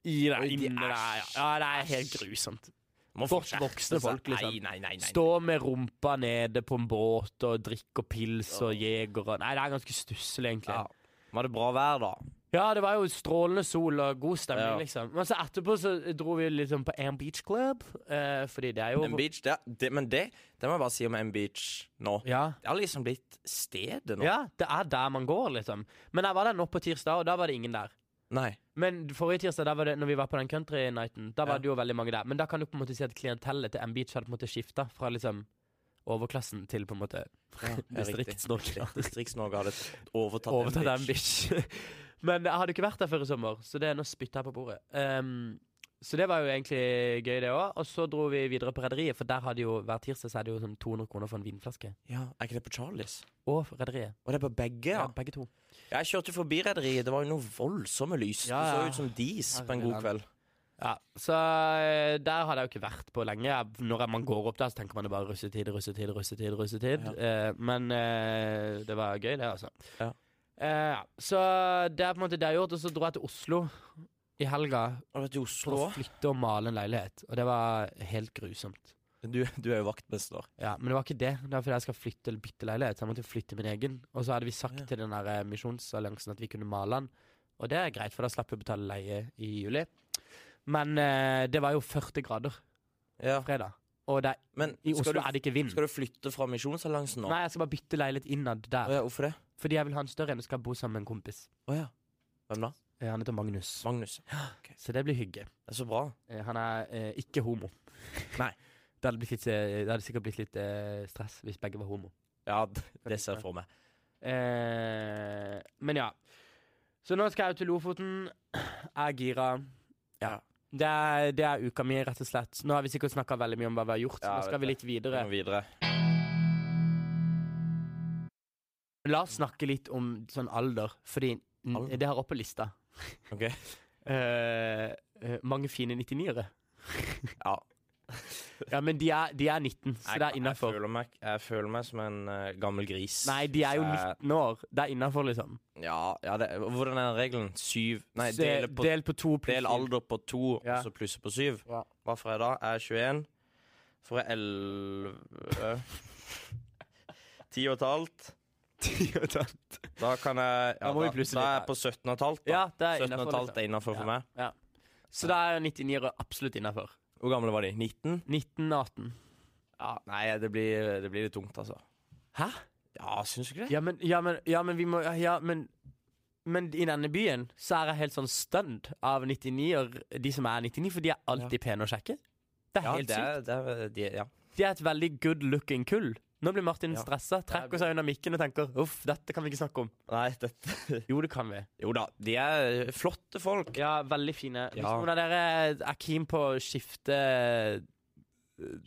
Speaker 2: i det
Speaker 1: Oi, de
Speaker 2: inne
Speaker 1: er-
Speaker 2: der. Ja. ja, det er helt grusomt.
Speaker 1: Må
Speaker 2: Godt
Speaker 1: skjerpe
Speaker 2: voksne
Speaker 1: seg.
Speaker 2: folk, liksom.
Speaker 1: Nei, nei, nei. nei.
Speaker 2: Stå med rumpa nede på en båt og drikke og pils og jegere. Nei, det er ganske stusslig, egentlig.
Speaker 1: Ja. Var det bra vær, da?
Speaker 2: Ja, det var jo strålende sol og god stemning,
Speaker 1: Ja.
Speaker 2: liksom. Men så etterpå så dro vi liksom på Am Beach Club, eh, fordi det er jo
Speaker 1: M-Beach, det, det, men det, det må jeg bare si om M-Beach nå.
Speaker 2: Ja.
Speaker 1: Det har liksom blitt stedet nå.
Speaker 2: ja, det er der man går, liksom. Men jeg var der nå på tirsdag, og da var det ingen der.
Speaker 1: Nei.
Speaker 2: Men forrige tirsdag, da var det, når vi var på den country nighten, da var
Speaker 1: Ja.
Speaker 2: det jo veldig mange der. Men da kan du på en måte si at klientellet til M Beach hadde på en måte skifta fra liksom overklassen til på en måte Distrikts-Norge.
Speaker 1: Distrikts-Norge hadde overtatt,
Speaker 2: Overtatt
Speaker 1: M-Beach.
Speaker 2: M Beach. Men jeg hadde ikke vært der før i sommer, så det er nå spytta på bordet. Ehm, så det var jo egentlig gøy, det òg. Og så dro vi videre på Rederiet, for der hadde jo hver tirsdag så er det jo sånn 200 kroner for en vinflaske.
Speaker 1: Ja, Er ikke det på Charlies?
Speaker 2: Og Rederiet.
Speaker 1: Og det er på begge, ja.
Speaker 2: Ja, begge to.
Speaker 1: Jeg kjørte forbi rederiet. Det var jo noe voldsomme lys.
Speaker 2: Ja, ja.
Speaker 1: Det så ut som dis på en
Speaker 2: Herre
Speaker 1: god kveld.
Speaker 2: Ja, Så eh, der hadde jeg jo ikke vært på lenge. Jeg- Når man går opp der, så tenker man det bare russetid, russetid, russetid. russetid.
Speaker 1: Ja.
Speaker 2: Eh, men eh, det var gøy, det, altså.
Speaker 1: Ja.
Speaker 2: Eh, ja. så det er på en måte det jeg har gjort. Og så dro jeg til Oslo i helga.
Speaker 1: Og vet du,
Speaker 2: for
Speaker 1: Oslo
Speaker 2: å
Speaker 1: også.
Speaker 2: flytte og male en leilighet. Og det var helt grusomt.
Speaker 1: du, du er jo vaktmester.
Speaker 2: Ja, Men det var ikke det. Det var fordi jeg skal flytte eller bytte leilighet. Så jeg måtte flytte min egen. Og så hadde vi sagt
Speaker 1: Ja.
Speaker 2: til den der eh, misjonsalliansen at vi kunne male den. Og det er greit, for da slapp vi å betale leie i juli. Men eh, det var jo 40 grader
Speaker 1: Ja.
Speaker 2: fredag. Og det, er-
Speaker 1: Men
Speaker 2: i
Speaker 1: skal du,
Speaker 2: Oslo er det ikke vind.
Speaker 1: skal du flytte fra Misjonsalliansen nå?
Speaker 2: Nei, jeg skal bare bytte leilighet innad
Speaker 1: Å
Speaker 2: der.
Speaker 1: ja, hvorfor det?
Speaker 2: Fordi jeg vil ha en større en og skal bo sammen med en kompis.
Speaker 1: Å ja. Hvem da?
Speaker 2: Eh, Han heter Magnus.
Speaker 1: Magnus.
Speaker 2: Så det blir hygge.
Speaker 1: Det er så bra.
Speaker 2: Eh, Han er eh, ikke homo.
Speaker 1: Nei.
Speaker 2: Det hadde, blitt litt, eh, det hadde sikkert blitt litt eh, stress hvis begge var homo.
Speaker 1: Ja, d- det ser jeg for meg.
Speaker 2: Eh, men ja. Så nå skal jeg ut til Lofoten. Jeg er gira. Ja. Det er, det er uka mi, rett og slett. Nå har vi sikkert snakka veldig mye om hva vi har gjort.
Speaker 1: Ja,
Speaker 2: nå
Speaker 1: jeg
Speaker 2: skal vi
Speaker 1: vet
Speaker 2: litt videre.
Speaker 1: Nå videre.
Speaker 2: La oss snakke litt om sånn alder, fordi n-
Speaker 1: Alder?
Speaker 2: det har oppe lista.
Speaker 1: Ok.
Speaker 2: Eh, eh, mange fine 99-ere.
Speaker 1: Ja.
Speaker 2: Ja, men de er, de er 19, så det er
Speaker 1: jeg,
Speaker 2: innafor.
Speaker 1: føler meg, jeg føler meg som en eh, gammel gris.
Speaker 2: Nei, de er
Speaker 1: Så
Speaker 2: jo
Speaker 1: jeg-
Speaker 2: 19 år. Det er innafor, liksom.
Speaker 1: Ja, ja det, hvordan er regelen? Syv Nei,
Speaker 2: Se-
Speaker 1: dele på
Speaker 2: del på to pluss
Speaker 1: Del
Speaker 2: syv.
Speaker 1: alder på to,
Speaker 2: Ja.
Speaker 1: og så plusse på syv.
Speaker 2: Ja.
Speaker 1: Hva får jeg da? Jeg er 21. Får jeg 11 10 og et halvt. Da kan jeg ja,
Speaker 2: Da må vi
Speaker 1: da,
Speaker 2: plusse
Speaker 1: da er jeg
Speaker 2: litt
Speaker 1: på 17 og et halvt. da.
Speaker 2: Ja, det er
Speaker 1: 17 og et
Speaker 2: innenfor, liksom.
Speaker 1: halvt er innafor
Speaker 2: Ja.
Speaker 1: for meg.
Speaker 2: Ja. Så da er 99-ere absolutt innafor.
Speaker 1: Hvor gamle var de? 19?
Speaker 2: 19-18.
Speaker 1: Ja, nei, det blir, det blir litt tungt, altså.
Speaker 2: Hæ?
Speaker 1: Ja, syns du ikke det?
Speaker 2: Ja, men, ja, men, ja, men vi må Ja, men men i denne byen så er jeg helt sånn stunned av 99-er, de som er 99, for de er alltid pene å sjekke. Det er helt
Speaker 1: det
Speaker 2: sykt.
Speaker 1: er, det er, de, ja.
Speaker 2: De er et veldig good looking kull. Nå blir Martin stressa, trekker
Speaker 1: Det
Speaker 2: seg unna mikken og tenker uff, dette kan vi ikke snakke om.
Speaker 1: Nei, dette
Speaker 2: Jo, det kan vi.
Speaker 1: Jo da, de er eh, flotte folk.
Speaker 2: Ja, veldig fine. Hvis
Speaker 1: Ja.
Speaker 2: noen av dere er keen på å skifte eh,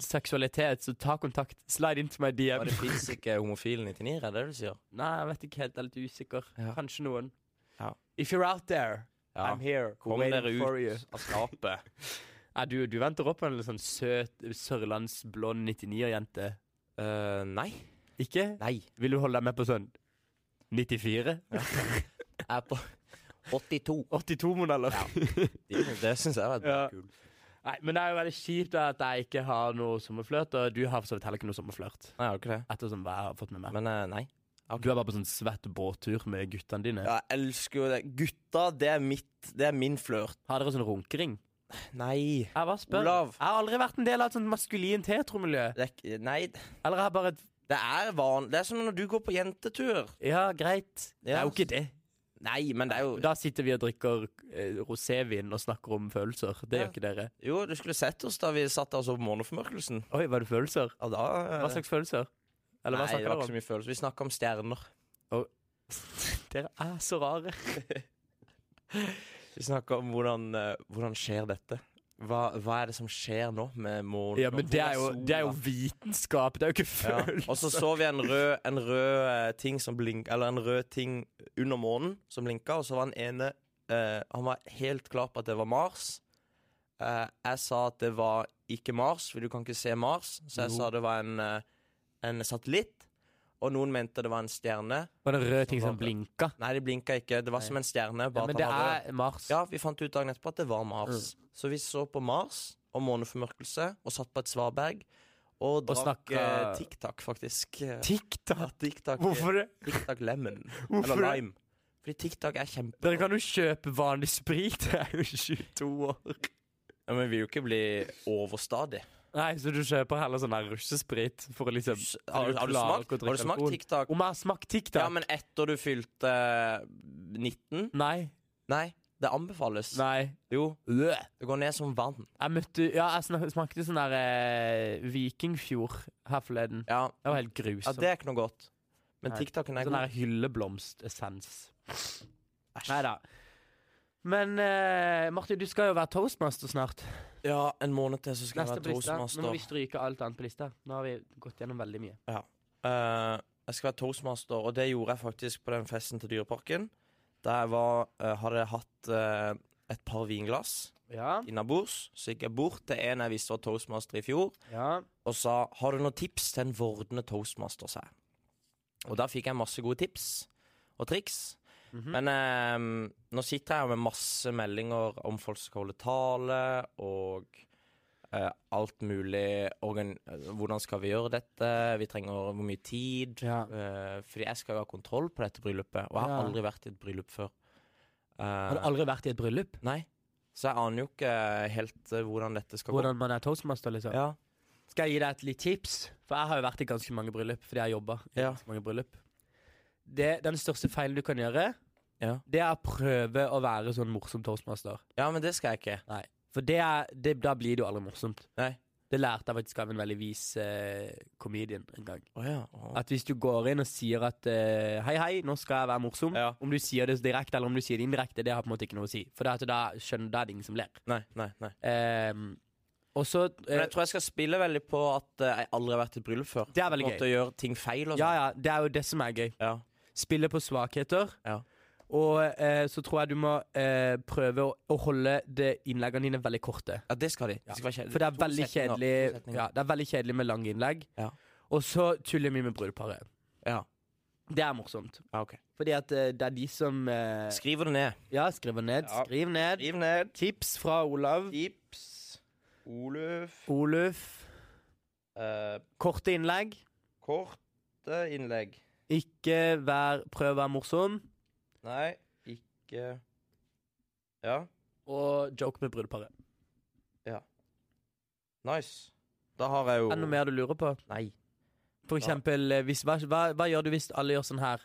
Speaker 2: seksualitet, så ta kontakt. Slide into my
Speaker 1: Og
Speaker 2: DM.
Speaker 1: det fins ikke homofile 99, er det det du sier?
Speaker 2: Nei, jeg vet ikke helt. Jeg er litt usikker.
Speaker 1: Ja.
Speaker 2: Kanskje noen.
Speaker 1: Ja.
Speaker 2: If you're out there,
Speaker 1: Ja.
Speaker 2: I'm here.
Speaker 1: Kom
Speaker 2: waiting
Speaker 1: dere
Speaker 2: for you.
Speaker 1: ut av skapet.
Speaker 2: Nei, du, du venter opp på en litt sånn søt sørlandsblond 99-jente.
Speaker 1: Eh, nei.
Speaker 2: Ikke?
Speaker 1: Nei.
Speaker 2: Vil du holde deg med på sånn 94?
Speaker 1: Jeg er på 82.
Speaker 2: 82-modeller?
Speaker 1: Det, det syns jeg var
Speaker 2: Ja.
Speaker 1: kult.
Speaker 2: Nei, men det er jo veldig kjipt da at jeg ikke har noe sommerflørt, og du har for så vidt heller ikke noe sommerflørt.
Speaker 1: Nei, jeg har ikke det.
Speaker 2: Ettersom hva jeg har fått med meg.
Speaker 1: Men eh, nei.
Speaker 2: Du er bare på sånn svett båttur med guttene dine.
Speaker 1: Ja, jeg elsker jo det. Gutta, det er mitt. Det er min flørt.
Speaker 2: Har dere sånn runkering?
Speaker 1: Nei.
Speaker 2: Jeg bare spør.
Speaker 1: Olav.
Speaker 2: Jeg har aldri vært en del av et sånt maskulint heteromiljø.
Speaker 1: Det er, ikke- nei.
Speaker 2: Eller jeg har bare et
Speaker 1: Det er van... Det er som når du går på jentetur.
Speaker 2: Ja, greit. Det er
Speaker 1: Ja.
Speaker 2: jo ikke det.
Speaker 1: Nei, men det er jo
Speaker 2: Da sitter vi og drikker eh, rosévin og snakker om følelser. Det
Speaker 1: Ja.
Speaker 2: gjør ikke dere.
Speaker 1: Jo, du skulle sett oss da vi satt der og så på Måneformørkelsen.
Speaker 2: Oi, var det følelser?
Speaker 1: Ja, da eh,
Speaker 2: Hva slags følelser? Eller hva
Speaker 1: Nei, det
Speaker 2: snakker
Speaker 1: var ikke
Speaker 2: dere om?
Speaker 1: så mye følelse. Vi snakka om stjerner.
Speaker 2: Dere er så rare.
Speaker 1: Vi snakka om hvordan, eh, hvordan skjer dette. Hva, hva er det som skjer nå med månen?
Speaker 2: Ja, men det er, jo, det er jo vitenskap. Det er jo ikke
Speaker 1: ja.
Speaker 2: følelser.
Speaker 1: Og så så vi en rød, en rød eh, ting som blink, Eller en rød ting under månen som blinka, og så var han ene eh, Han var helt klar på at det var Mars. Eh, jeg sa at det var ikke Mars, for du kan ikke se Mars. Så jeg sa det var en, eh, en satellitt. Og noen mente det var en stjerne.
Speaker 2: Var det en rød ting
Speaker 1: som
Speaker 2: som blinka?
Speaker 1: Nei, det blinka ikke. Det var som en stjerne. Bare
Speaker 2: men
Speaker 1: at
Speaker 2: det
Speaker 1: han var rød.
Speaker 2: er Mars.
Speaker 1: Ja, vi fant ut dagen etterpå at det var Mars.
Speaker 2: Mm.
Speaker 1: Så vi så på Mars og måneformørkelse og satt på et svaberg. Og drakk
Speaker 2: snakka-
Speaker 1: eh, Tic Tac, faktisk. Eh,
Speaker 2: TikTok.
Speaker 1: ja, Tic Tac,
Speaker 2: Hvorfor det?
Speaker 1: Tic Tac Lemon.
Speaker 2: Hvorfor
Speaker 1: Eller
Speaker 2: det?
Speaker 1: lime. Fordi Tic Tac er kjempe...
Speaker 2: Dere kan jo kjøpe vanlig sprit. Jeg er jo 22 år.
Speaker 1: Ja, men vi vil jo ikke bli overstadig.
Speaker 2: Nei, så du kjøper heller sånn der russesprit for å liksom
Speaker 1: S- Har, du- har du
Speaker 2: klarer
Speaker 1: smakt,
Speaker 2: ikke å drikke
Speaker 1: har du smakt
Speaker 2: alkohol.
Speaker 1: Tic Tac?
Speaker 2: Om jeg har smakt TikTok?
Speaker 1: Ja, men etter du fylte eh, 19?
Speaker 2: Nei.
Speaker 1: Nei, det anbefales.
Speaker 2: Nei.
Speaker 1: Jo,
Speaker 2: Øh.
Speaker 1: det går ned som vann.
Speaker 2: Jeg møtte Ja, jeg snak- smakte sånn der eh, Vikingfjord her forleden.
Speaker 1: Ja,
Speaker 2: Det var helt
Speaker 1: ja
Speaker 2: grusomt.
Speaker 1: det er ikke noe godt. Men
Speaker 2: Nei.
Speaker 1: Tic Tacen er
Speaker 2: sånn
Speaker 1: god.
Speaker 2: der hylleblomstessens. Nei da. Men eh, Martin, du skal jo være toastmaster snart.
Speaker 1: Ja, en måned til så skal jeg
Speaker 2: Neste på
Speaker 1: være
Speaker 2: lista. Nå må
Speaker 1: toastmaster.
Speaker 2: vi stryke alt annet på lista. Nå har vi gått gjennom veldig mye.
Speaker 1: Eh, jeg skal være toastmaster, og det gjorde jeg faktisk på den festen til Dyreparken. Der jeg var, eh, hadde jeg hatt eh, et par vinglass
Speaker 2: Ja,
Speaker 1: innabords. Så gikk jeg bort til en jeg visste var toastmaster i fjor,
Speaker 2: ja.
Speaker 1: og sa 'Har du noen tips til en vordende toastmaster?' sa jeg. Og da fikk jeg masse gode tips og triks. Men eh, nå sitter jeg her med masse meldinger om folk som skal holde tale, og eh, alt mulig. Organ eh, hvordan skal vi gjøre dette? Vi trenger hvor mye tid?
Speaker 2: Ja.
Speaker 1: Eh, fordi jeg skal jo ha kontroll på dette bryllupet, og jeg har
Speaker 2: Ja.
Speaker 1: aldri vært i et bryllup før. Eh,
Speaker 2: Har du aldri vært i et bryllup?
Speaker 1: Nei. Så jeg aner jo ikke helt eh, hvordan dette skal
Speaker 2: Hvordan man er toastmaster,
Speaker 1: gå.
Speaker 2: liksom?
Speaker 1: Ja.
Speaker 2: Skal jeg gi deg et litt tips? For jeg har jo vært i ganske mange bryllup, fordi jeg jobba i
Speaker 1: Ja.
Speaker 2: ganske mange bryllup. Det, den største feilen du kan gjøre,
Speaker 1: Ja.
Speaker 2: det er å prøve å være sånn morsom toastmaster.
Speaker 1: ja, men det skal jeg ikke.
Speaker 2: For det er, det, da blir det jo aldri morsomt.
Speaker 1: Nei.
Speaker 2: Det lærte jeg faktisk av en veldig vis eh, comedian en gang.
Speaker 1: Å ja. Å.
Speaker 2: At hvis du går inn og sier at eh, hei, hei, nå skal jeg være morsom,
Speaker 1: Ja.
Speaker 2: om du sier det direkte eller om du sier det indirekte, det har på en måte ikke noe å si. For det er at da skjønner da er det ingen som ler.
Speaker 1: Nei, nei, nei.
Speaker 2: Ehm, og så
Speaker 1: Men
Speaker 2: eh,
Speaker 1: jeg tror jeg skal spille veldig på at eh, jeg aldri har vært i et bryllup før.
Speaker 2: Det er veldig
Speaker 1: På en måte
Speaker 2: gøy.
Speaker 1: Å gjøre ting feil og
Speaker 2: Ja,
Speaker 1: sånn.
Speaker 2: ja, det er jo det som er gøy.
Speaker 1: Ja.
Speaker 2: Spille på svakheter.
Speaker 1: Ja.
Speaker 2: Og eh, så tror jeg du må eh, prøve å, å holde de innleggene dine veldig korte.
Speaker 1: ja, det skal de. Det skal være kjedelig.
Speaker 2: For det er
Speaker 1: Eh, To
Speaker 2: veldig
Speaker 1: setninger,
Speaker 2: kjedelig,
Speaker 1: to setninger.
Speaker 2: ja, det er veldig kjedelig med lange innlegg.
Speaker 1: Ja.
Speaker 2: Og så tuller vi med brudeparet.
Speaker 1: Ja.
Speaker 2: Det er morsomt.
Speaker 1: Ja, ok.
Speaker 2: Fordi at eh, det er de som eh,
Speaker 1: Skriver det ned.
Speaker 2: Ja, skriver ned.
Speaker 1: Ja.
Speaker 2: Skriv ned.
Speaker 1: Skriv ned.
Speaker 2: Tips fra Olav.
Speaker 1: Tips. Oluf.
Speaker 2: Oluf.
Speaker 1: Eh.
Speaker 2: Korte innlegg.
Speaker 1: korte innlegg.
Speaker 2: Ikke vær Prøv å være morsom.
Speaker 1: Nei, ikke Ja.
Speaker 2: Og joke med brudeparet.
Speaker 1: Nice. Da har jeg jo
Speaker 2: Er det noe mer du lurer på?
Speaker 1: Nei.
Speaker 2: For eksempel, eh, hvis, hva, hva, hva gjør du hvis alle gjør sånn her?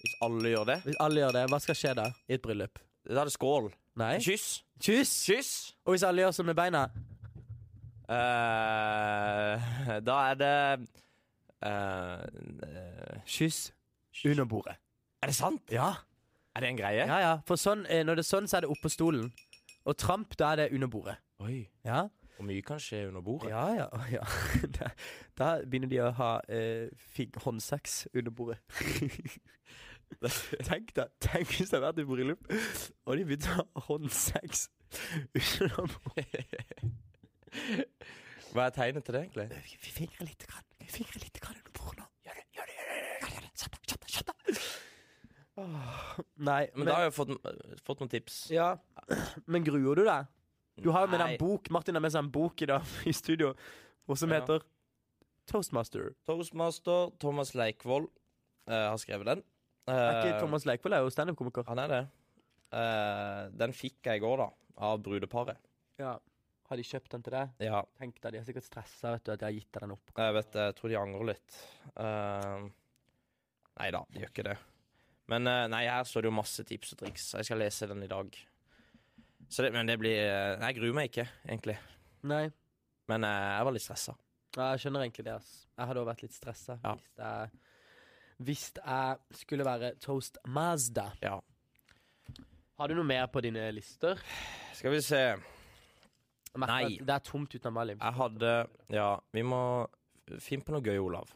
Speaker 1: Hvis alle gjør det,
Speaker 2: Hvis alle gjør det, Hva skal skje da? I et bryllup?
Speaker 1: da er det skål.
Speaker 2: Nei?
Speaker 1: Kyss.
Speaker 2: Kyss!
Speaker 1: Kyss.
Speaker 2: Og hvis alle gjør sånn med beina?
Speaker 1: Eh, da er det eh,
Speaker 2: Kyss under bordet.
Speaker 1: Er det sant?
Speaker 2: Ja.
Speaker 1: Er det en greie?
Speaker 2: ja, ja. For sånn, eh, når det er sånn, så er det oppå stolen. Og tramp, da er det under bordet.
Speaker 1: Oi.
Speaker 2: Ja.
Speaker 1: Og mye kan skje under bordet.
Speaker 2: Ja, ja. å, ja. Da, da begynner de å ha eh, fig håndsex under bordet. tenk da, tenk hvis det hadde vært i bryllup, og de begynte å ha håndsex under bordet.
Speaker 1: Hva er tegnet til det, egentlig?
Speaker 2: Vi fingrer litt grann. Vi fingrer litt grann under bordet nå. Gjør det, gjør det, gjør det, gjør det, gjør det. Slapp av, slapp av, slapp av. Åh, Nei,
Speaker 1: Men, da har jeg fått, fått noen tips.
Speaker 2: Ja, men gruer du deg? Du har jo med deg
Speaker 1: Nei.
Speaker 2: en bok, Martin har med seg en bok i dag i studio, og som
Speaker 1: Ja.
Speaker 2: heter Toastmaster.
Speaker 1: Toastmaster Thomas Leikvoll eh, har skrevet den.
Speaker 2: Er ikke
Speaker 1: Eh,
Speaker 2: Thomas Leikvoll er jo standup-komiker.
Speaker 1: Han er det. Eh, den fikk jeg i går, da. Av brudeparet.
Speaker 2: Ja. Har de kjøpt den til deg?
Speaker 1: Ja.
Speaker 2: Tenk deg, De er sikkert stressa vet du, at jeg har gitt deg den opp.
Speaker 1: Jeg vet det, jeg tror de angrer litt. Uh, nei da, de gjør ikke det. Men eh, nei, her står det jo masse tips og triks. Jeg skal lese den i dag. Så det, men det blir eh, Nei, jeg gruer meg ikke, egentlig.
Speaker 2: Nei,
Speaker 1: Men eh, jeg var litt stressa.
Speaker 2: ja, jeg skjønner egentlig det. ass. Jeg hadde òg vært litt stressa
Speaker 1: Ja.
Speaker 2: hvis, jeg- hvis jeg skulle være toastmaster.
Speaker 1: Ja.
Speaker 2: Har du noe mer på dine lister?
Speaker 1: Skal vi se.
Speaker 2: Jeg merker
Speaker 1: Nei.
Speaker 2: at Det er tomt uten Malin.
Speaker 1: Jeg hadde Ja, vi må finne på noe gøy, Olav.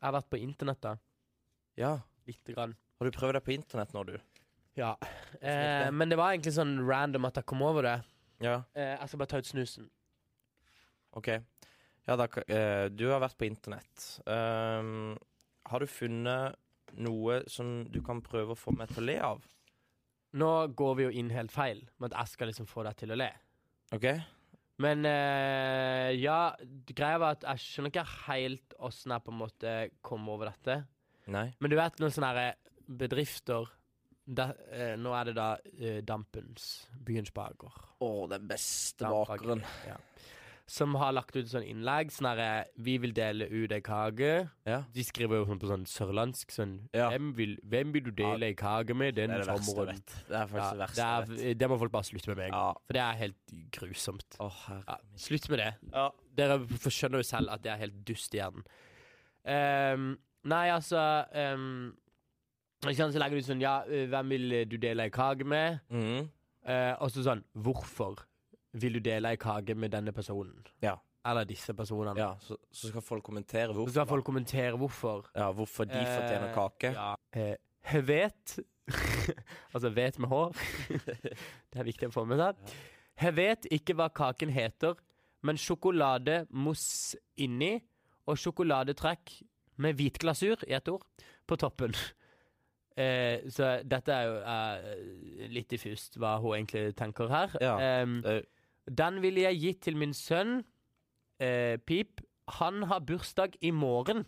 Speaker 2: Jeg har vært på internettet
Speaker 1: Ja.
Speaker 2: lite grann.
Speaker 1: Har du prøvd deg på internett nå, du?
Speaker 2: Ja. Eh,
Speaker 1: Snitt.
Speaker 2: men det var egentlig sånn random at jeg kom over det.
Speaker 1: Ja.
Speaker 2: Eh, jeg skal bare ta ut snusen.
Speaker 1: OK. Ja, da, ka- eh, du har vært på internett. Ehm, har du funnet noe som du kan prøve å få meg til å le av?
Speaker 2: Nå går vi jo inn helt feil med at jeg skal liksom få deg til å le.
Speaker 1: OK?
Speaker 2: Men eh, ja, greia var at jeg skjønner ikke helt åssen jeg på en måte kom over dette.
Speaker 1: Nei?
Speaker 2: Men du vet noen sånne her eh, bedrifter da, eh, Nå er det da eh, Dampens, byens baker.
Speaker 1: Å, den beste
Speaker 2: Dampbaker, Ja. Som har lagt ut sånn innlegg. Sånn herre Vi vil dele ut ei kake.
Speaker 1: Ja.
Speaker 2: De skriver jo sånn på sånn sørlandsk sånn
Speaker 1: Ja.
Speaker 2: hvem, vil, hvem vil du dele ei kake med
Speaker 1: Det
Speaker 2: denne
Speaker 1: er det verste jeg
Speaker 2: sommeren?
Speaker 1: vet. Det er
Speaker 2: Ja,
Speaker 1: faktisk det
Speaker 2: det,
Speaker 1: verste jeg vet.
Speaker 2: er, det må folk bare slutte med med en gang.
Speaker 1: Ja.
Speaker 2: For det er helt grusomt.
Speaker 1: Å,
Speaker 2: Ja,
Speaker 1: herre min.
Speaker 2: slutt med det.
Speaker 1: Ja.
Speaker 2: Dere f- skjønner jo selv at det er helt dust i hjernen. Ehm, nei, altså ehm, ikke sant, Så legger du ut sånn Ja, eh, hvem vil eh, du dele ei kake med?
Speaker 1: Mhm.
Speaker 2: Eh, og så sånn Hvorfor vil du dele ei kake med denne personen?
Speaker 1: Ja.
Speaker 2: Eller disse personene.
Speaker 1: ja så, så skal folk kommentere
Speaker 2: Og
Speaker 1: hvorfor,
Speaker 2: så skal folk kommentere hvorfor.
Speaker 1: ja, hvorfor de fortjener
Speaker 2: Eh,
Speaker 1: kake.
Speaker 2: Ja. Eh, hevet Altså vet med hår. det er viktig å få med seg. Hevet ikke hva kaken heter, men sjokolademousse inni og sjokoladetrekk med hvit glasur i ett ord på toppen. Eh, så dette er jo eh, litt diffust hva hun egentlig tenker her.
Speaker 1: Ja.
Speaker 2: Em,
Speaker 1: Eh,
Speaker 2: den ville jeg gitt til min sønn eh, Pip. Han har bursdag i morgen.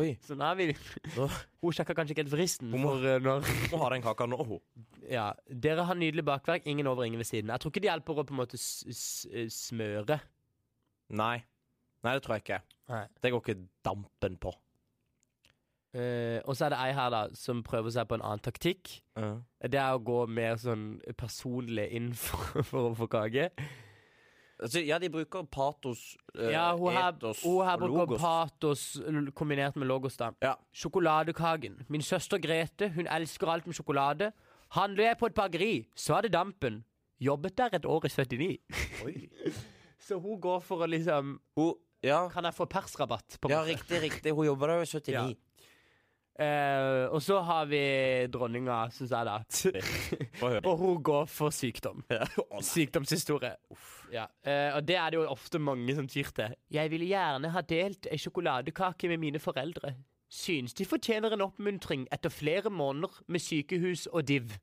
Speaker 1: oi,
Speaker 2: Så nå er vi
Speaker 1: Nå-
Speaker 2: Hun sjekker kanskje ikke helt fristen.
Speaker 1: Hun må-
Speaker 2: For, eh, når,
Speaker 1: hun må ha den kaka nå, hun.
Speaker 2: ja. Dere har nydelig bakverk, ingen over, ingen ved siden. Jeg tror ikke det hjelper å på en måte s s smøre.
Speaker 1: Nei. Nei, det tror jeg ikke.
Speaker 2: Nei.
Speaker 1: Det går ikke dampen på.
Speaker 2: Eh, og så er det ei her da som prøver seg på en annen taktikk. Det er å gå mer sånn personlig inn for, for å få kake.
Speaker 1: Eh, Altså, ja, de bruker patos, eh,
Speaker 2: Ja, hun her,
Speaker 1: etos
Speaker 2: hun her
Speaker 1: og
Speaker 2: bruker
Speaker 1: logos.
Speaker 2: patos l- kombinert med logos, da.
Speaker 1: Ja.
Speaker 2: Sjokoladekaken. Min søster Grete, hun elsker alt med sjokolade. Handler jeg på et bakeri, så er det dampen. Jobbet der et år i 79. så hun går for å liksom
Speaker 1: Hun, ja,
Speaker 2: Kan jeg få persrabatt? på
Speaker 1: ja,
Speaker 2: en måte?
Speaker 1: riktig, riktig. Hun jobber der jo i 79.
Speaker 2: Ja. Eh, og så har vi dronninga, syns jeg, da.
Speaker 1: Få høre.
Speaker 2: og hun går for sykdom.
Speaker 1: Å, nei.
Speaker 2: Sykdomshistorie. Ja. eh, og det er det jo ofte mange som tyr til. Jeg ville gjerne ha delt ei sjokoladekake med mine foreldre. Synes de fortjener en oppmuntring etter flere måneder med sykehus og div.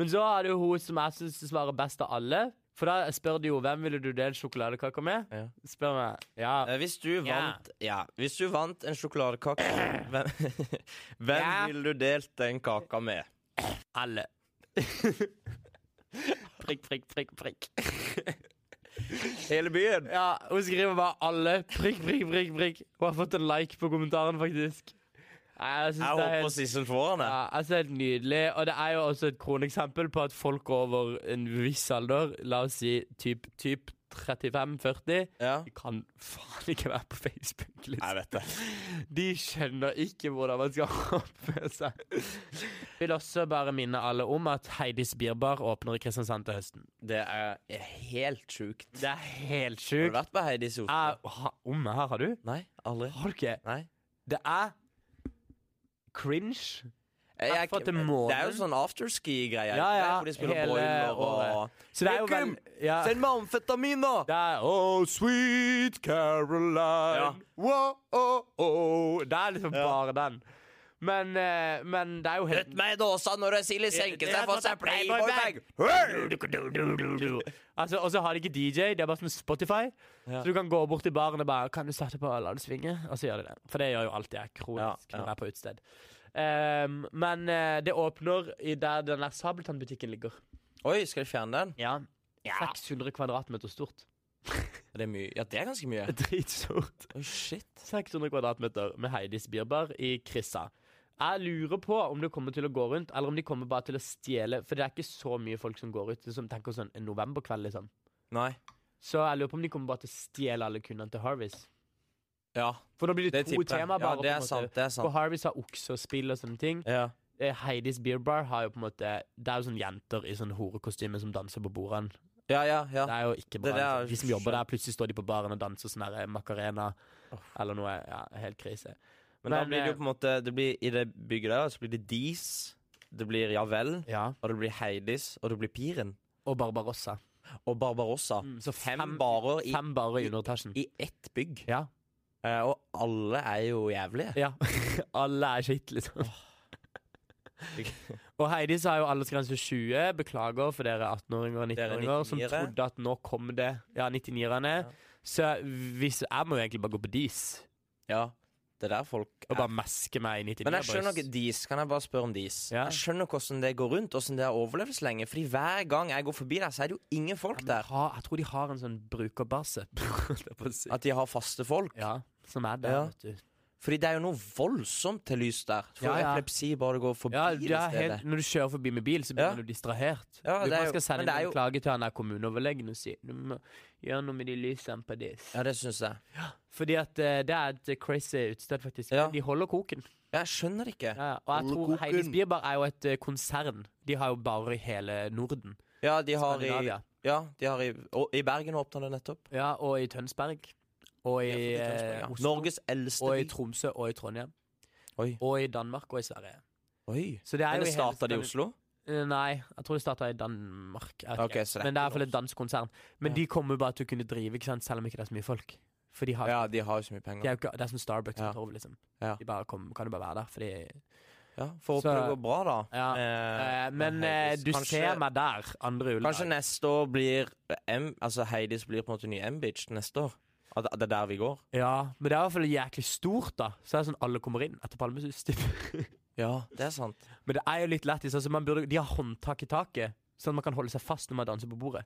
Speaker 2: Men så er det jo hun som jeg syns svarer best av alle. For da spør de jo hvem ville du delt sjokoladekaka med.
Speaker 1: Ja.
Speaker 2: Spør meg. Ja.
Speaker 1: Eh, Hvis du vant ja. Hvis du vant en sjokoladekake, hvem, hvem
Speaker 2: Ja.
Speaker 1: ville du delt den kaka med?
Speaker 2: Alle. prikk, prikk, prikk, prikk.
Speaker 1: Hele byen?
Speaker 2: Ja, hun skriver bare 'alle'. Prikk, prikk, prikk. prikk Hun har fått en like på kommentaren, faktisk. Nei, Jeg synes
Speaker 1: Jeg
Speaker 2: det er
Speaker 1: håper
Speaker 2: helt,
Speaker 1: Sissel får den. jeg.
Speaker 2: ja, jeg synes det er helt nydelig. Og det er jo også et kroneksempel på at folk over en viss alder, la oss si typ, typ 35-40
Speaker 1: Ja.
Speaker 2: De kan faen ikke være på Facebook. Liksom.
Speaker 1: Jeg vet det.
Speaker 2: De skjønner ikke hvordan man skal oppføre seg. Vil også bare minne alle om at Heidis Birbar åpner i Kristiansand til høsten.
Speaker 1: Det er helt sjukt.
Speaker 2: Det er helt
Speaker 1: Har du
Speaker 2: sjukt.
Speaker 1: vært på Heidis Oslo?
Speaker 2: Jeg- ha- Om her, har du?
Speaker 1: Nei, aldri.
Speaker 2: Har du ikke?
Speaker 1: Nei.
Speaker 2: Det er cringe.
Speaker 1: Jeg,
Speaker 2: Jeg får til
Speaker 1: det er jo
Speaker 2: månen.
Speaker 1: sånn afterski-greie.
Speaker 2: Ja, ja,
Speaker 1: Hvor de spiller
Speaker 2: hele
Speaker 1: boiler
Speaker 2: året.
Speaker 1: og
Speaker 2: Så det er jo
Speaker 1: Joakim,
Speaker 2: veld- ja.
Speaker 1: Send meg amfetamin, da!
Speaker 2: Det er Oh, sweet Caroline.
Speaker 1: Ja.
Speaker 2: Wow, oh, oh. Det er liksom bare den. Men, eh, men det er jo helt
Speaker 1: Putt meg i dåsa når Silje
Speaker 2: Eh,
Speaker 1: senker seg for seg
Speaker 2: sånn
Speaker 1: Playboy-bag!
Speaker 2: Altså, og så har de ikke DJ, det er bare som Spotify. Så du kan gå bort til baren og bare Kan du starte på La det svinge? Og så gjør de det. For det gjør jo alltid jeg kronisk når jeg er på utested. Ehm, men eh, det åpner i der den der Sabeltann-butikken ligger.
Speaker 1: Oi, skal de fjerne den?
Speaker 2: Ja. 600 kvadratmeter stort.
Speaker 1: Det er mye. Ja, det er ganske mye.
Speaker 2: Dritstort.
Speaker 1: Oi, shit.
Speaker 2: 600 kvadratmeter med Heidis Birbar i Krissa. Jeg lurer på om det kommer til å gå rundt, eller om de kommer bare til å stjele. For det er ikke så mye folk som går ut. Som tenker sånn en novemberkveld, liksom.
Speaker 1: Nei.
Speaker 2: Så jeg lurer på om de kommer bare til å stjele alle kundene til Harvis.
Speaker 1: Ja,
Speaker 2: For da blir det,
Speaker 1: det
Speaker 2: to
Speaker 1: tipper jeg.
Speaker 2: temaer
Speaker 1: Ja,
Speaker 2: bare.
Speaker 1: det
Speaker 2: på en
Speaker 1: er
Speaker 2: måte.
Speaker 1: sant. Det er
Speaker 2: For
Speaker 1: sant.
Speaker 2: Harvis har oksespill og sånne ting.
Speaker 1: Ja.
Speaker 2: Eh, Heidis Beer Bar har jo på en måte Det er jo sånne jenter i sånn horekostyme som danser på bordene.
Speaker 1: Ja, ja, ja.
Speaker 2: Det er jo ikke bra.
Speaker 1: Det der-
Speaker 2: liksom. De som jobber der, plutselig står de på baren og danser sånn her, eh, Macarena eller noe. Ja, helt krise.
Speaker 1: Men da blir det jo
Speaker 2: eh,
Speaker 1: på en måte det blir, I det bygget der så blir det Dis, det blir Ja vel,
Speaker 2: ja.
Speaker 1: og det blir Heidis, og det blir Piren.
Speaker 2: Og Barbarossa.
Speaker 1: Og Barbarossa.
Speaker 2: så
Speaker 1: fem,
Speaker 2: Mm. fem-
Speaker 1: barer i,
Speaker 2: Fem barer i underetasjen.
Speaker 1: i ett bygg.
Speaker 2: Ja.
Speaker 1: Eh, og alle er jo jævlige.
Speaker 2: ja. alle er skitt, liksom. Og Heidi sa jo aldersgrense 20. Beklager for dere 18-åringer og
Speaker 1: Dere
Speaker 2: 19-åringer som
Speaker 1: 99-ere.
Speaker 2: trodde at nå kom det Ja, 99-erne. Så hvis, jeg må jo egentlig bare gå på dis
Speaker 1: Ja, det er der folk
Speaker 2: og
Speaker 1: er.
Speaker 2: bare meske meg i 99
Speaker 1: Men jeg skjønner ikke Dis. Kan jeg bare spørre om Dis?
Speaker 2: Ja.
Speaker 1: Jeg skjønner ikke hvordan det går rundt, hvordan det har overlevd så lenge. Fordi hver gang jeg går forbi der, så er det jo ingen folk der.
Speaker 2: ha, Jeg tror de har en sånn brukerbase. holdt jeg på å si.
Speaker 1: At de har faste folk.
Speaker 2: ja, som er der,
Speaker 1: Ja.
Speaker 2: vet du.
Speaker 1: Fordi det er jo noe voldsomt til lys der. For
Speaker 2: Ja, ja.
Speaker 1: epilepsi bare går forbi
Speaker 2: Ja,
Speaker 1: det
Speaker 2: ja
Speaker 1: stedet.
Speaker 2: helt, når du kjører forbi med bil, så blir
Speaker 1: Ja.
Speaker 2: du distrahert.
Speaker 1: Ja,
Speaker 2: du
Speaker 1: det er
Speaker 2: bare
Speaker 1: jo-
Speaker 2: skal sende
Speaker 1: men
Speaker 2: inn
Speaker 1: det er
Speaker 2: en
Speaker 1: jo-
Speaker 2: klage til han der kommuneoverlegen og si du må gjøre noe med de lysene på dis.
Speaker 1: Ja, det syns jeg.
Speaker 2: Fordi at eh, det er et crazy utested, faktisk.
Speaker 1: Ja.
Speaker 2: Men De holder koken.
Speaker 1: Jeg skjønner ikke.
Speaker 2: Ja, og jeg tror
Speaker 1: Koken.
Speaker 2: Heidis Bierbar er jo et eh, konsern. De har jo barer i hele Norden.
Speaker 1: Ja, de har i
Speaker 2: Skandinavia.
Speaker 1: Ja, de har i Og i Bergen åpna det nettopp.
Speaker 2: Ja, og i Tønsberg. Og i
Speaker 1: Ja, for det er
Speaker 2: eh,
Speaker 1: Tønsberg, ja.
Speaker 2: Oslo.
Speaker 1: Norges eldste
Speaker 2: og i
Speaker 1: by.
Speaker 2: Tromsø og i Trondheim.
Speaker 1: Oi.
Speaker 2: Og i Danmark og i Sverige.
Speaker 1: Oi.
Speaker 2: Så det er
Speaker 1: Men
Speaker 2: jo
Speaker 1: det
Speaker 2: i hele
Speaker 1: starta det i
Speaker 2: Skandin-
Speaker 1: Oslo?
Speaker 2: Eh, Nei, jeg tror det starta i Danmark. Jeg vet
Speaker 1: Ok,
Speaker 2: ikke.
Speaker 1: så det er
Speaker 2: Men det er
Speaker 1: ikke
Speaker 2: iallfall et dansk konsern. Men de kommer jo bare til å kunne drive, ikke sant? selv om ikke det er så mye folk. For de har
Speaker 1: Ja, de har jo så mye
Speaker 2: de er
Speaker 1: penger.
Speaker 2: jo ikke, det er som Starbucks
Speaker 1: Ja.
Speaker 2: på Torv, liksom.
Speaker 1: Ja.
Speaker 2: De bare kom, kan jo bare være der, fordi
Speaker 1: Ja, For å håpe
Speaker 2: Så-
Speaker 1: det går bra, da.
Speaker 2: Ja. Eh, Men eh,
Speaker 1: Heidis.
Speaker 2: du
Speaker 1: Kanskje-
Speaker 2: ser meg der andre
Speaker 1: Kanskje
Speaker 2: juledag.
Speaker 1: neste år blir M, Altså Heidis blir på en måte ny M-bitch neste år. At det er der vi går.
Speaker 2: Ja, men det er i hvert fall jæklig stort, da. Så er det sånn alle kommer inn etter Palmesus. typ.
Speaker 1: Ja, det er sant.
Speaker 2: men det er jo litt lættis. Altså, man burde- de har håndtak i taket, sånn at man kan holde seg fast når man danser på bordet.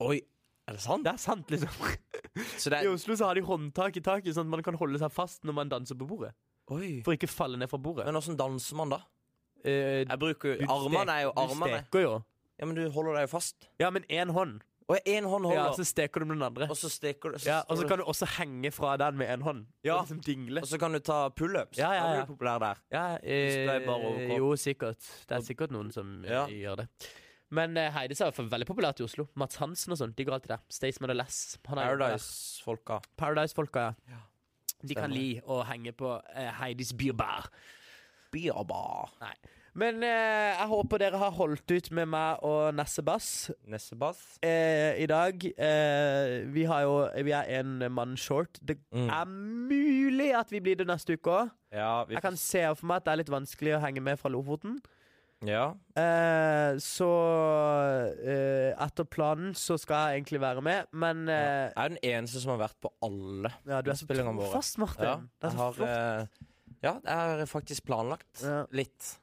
Speaker 1: Oi, er det sant?
Speaker 2: Det er sant, liksom.
Speaker 1: Så det
Speaker 2: I
Speaker 1: er
Speaker 2: Oslo så har de håndtak i taket, sånn at man kan holde seg fast når man danser på bordet.
Speaker 1: Oi.
Speaker 2: For ikke å falle ned fra bordet.
Speaker 1: Men åssen danser man da?
Speaker 2: Eh,
Speaker 1: Jeg bruker
Speaker 2: du
Speaker 1: Armene
Speaker 2: stek-
Speaker 1: er jo armene.
Speaker 2: Du steker jo.
Speaker 1: Ja, men du holder deg jo fast.
Speaker 2: Ja, men én hånd.
Speaker 1: Og én hånd
Speaker 2: Ja,
Speaker 1: holder,
Speaker 2: så steker du med den andre.
Speaker 1: og så steker du
Speaker 2: Ja, og så
Speaker 1: står
Speaker 2: kan du også henge fra den med én hånd.
Speaker 1: Ja.
Speaker 2: Og liksom dingle.
Speaker 1: og så kan du ta pullups.
Speaker 2: Ja, ja,
Speaker 1: Da blir
Speaker 2: ja.
Speaker 1: du populær der.
Speaker 2: Ja,
Speaker 1: Hvis det
Speaker 2: eh,
Speaker 1: er bare overkropp.
Speaker 2: jo, sikkert. Det er sikkert noen som eh,
Speaker 1: Ja.
Speaker 2: gjør det. Men eh, Heidis er i hvert fall veldig populært i Oslo. Mats Hansen og sånn, de går alltid der. Staysman og Less. han er jo der.
Speaker 1: Paradise-folka.
Speaker 2: Paradise-folka, ja. De kan
Speaker 1: Stemmer.
Speaker 2: li å henge på eh, Heidis Bierbar.
Speaker 1: Biaba.
Speaker 2: Nei. Men eh, jeg håper dere har holdt ut med meg og Nesse Bass.
Speaker 1: Nessebath.
Speaker 2: eh, i dag eh, Vi har jo Vi er en mann short. Det
Speaker 1: Mm.
Speaker 2: er mulig at vi blir det neste uke òg.
Speaker 1: Ja, vi
Speaker 2: Jeg kan se for meg at det er litt vanskelig å henge med fra Lofoten.
Speaker 1: ja.
Speaker 2: Eh, så eh, etter planen så skal jeg egentlig være med, men eh,
Speaker 1: Jeg er den eneste som har vært på alle
Speaker 2: ja, Du er så
Speaker 1: innspillingene våre.
Speaker 2: trofast, Martin.
Speaker 1: Ja,
Speaker 2: det er
Speaker 1: jeg
Speaker 2: så
Speaker 1: har,
Speaker 2: flott.
Speaker 1: eh, ja, det er faktisk planlagt.
Speaker 2: Ja.
Speaker 1: Litt.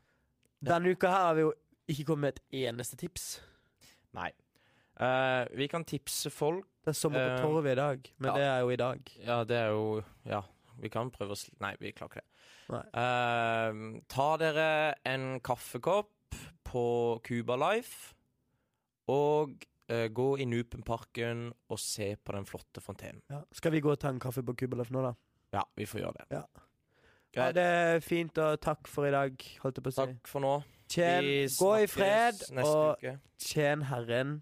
Speaker 2: Denne uka her har vi jo ikke kommet med et eneste tips.
Speaker 1: Nei. Eh, vi kan tipse folk
Speaker 2: Det er sommer på
Speaker 1: Eh,
Speaker 2: torvet i dag, men
Speaker 1: ja.
Speaker 2: det er jo i dag.
Speaker 1: Ja, det er jo Ja, vi kan prøve å sl... Nei, vi klarer ikke det.
Speaker 2: Nei.
Speaker 1: Eh, ta dere en kaffekopp på Cuba Life, og eh, gå i Nupenparken og se på den flotte fontenen.
Speaker 2: Ja. Skal vi gå og ta en kaffe på Kubelef nå, da?
Speaker 1: Ja, vi får gjøre det.
Speaker 2: Ha
Speaker 1: Greit.
Speaker 2: det fint, og takk for i dag, holdt jeg på å si.
Speaker 1: Takk for nå.
Speaker 2: Tjen,
Speaker 1: Vi
Speaker 2: gå i
Speaker 1: snakkes
Speaker 2: fred,
Speaker 1: neste
Speaker 2: og
Speaker 1: uke.
Speaker 2: tjen Herren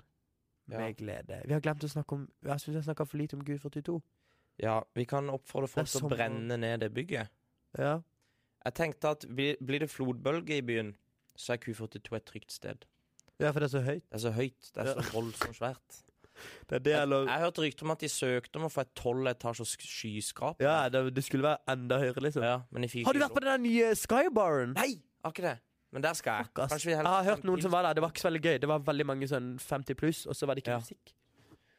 Speaker 1: Ja.
Speaker 2: med glede. Vi har glemt å snakke om Jeg syns jeg snakka for lite om Gud 42.
Speaker 1: Ja, vi kan oppfordre folk
Speaker 2: Det
Speaker 1: til å
Speaker 2: er sommer.
Speaker 1: brenne ned det bygget.
Speaker 2: Ja.
Speaker 1: Jeg tenkte at blir, blir det flodbølge i byen, så er Q42 et trygt sted.
Speaker 2: ja, for det er så høyt.
Speaker 1: Det er så høyt, det er så
Speaker 2: Ja.
Speaker 1: voldsomt svært.
Speaker 2: Det er det,
Speaker 1: Jeg,
Speaker 2: eller
Speaker 1: jeg hørte rykter om at de søkte om å få et tolv etasjes skyskrap.
Speaker 2: Ja, det, det skulle være enda høyere, liksom.
Speaker 1: Ja, men de fikk
Speaker 2: Har du
Speaker 1: ikke
Speaker 2: vært på den der nye Skybaren?
Speaker 1: Nei, har ikke det. Men der skal jeg.
Speaker 2: Ass.
Speaker 1: Kanskje vi
Speaker 2: Jeg
Speaker 1: heller
Speaker 2: har
Speaker 1: tar
Speaker 2: hørt
Speaker 1: en
Speaker 2: noen
Speaker 1: pils.
Speaker 2: som var der. Det var ikke så veldig gøy. Det var veldig mange sånn 50 pluss, og så var det ikke
Speaker 1: Ja.
Speaker 2: musikk.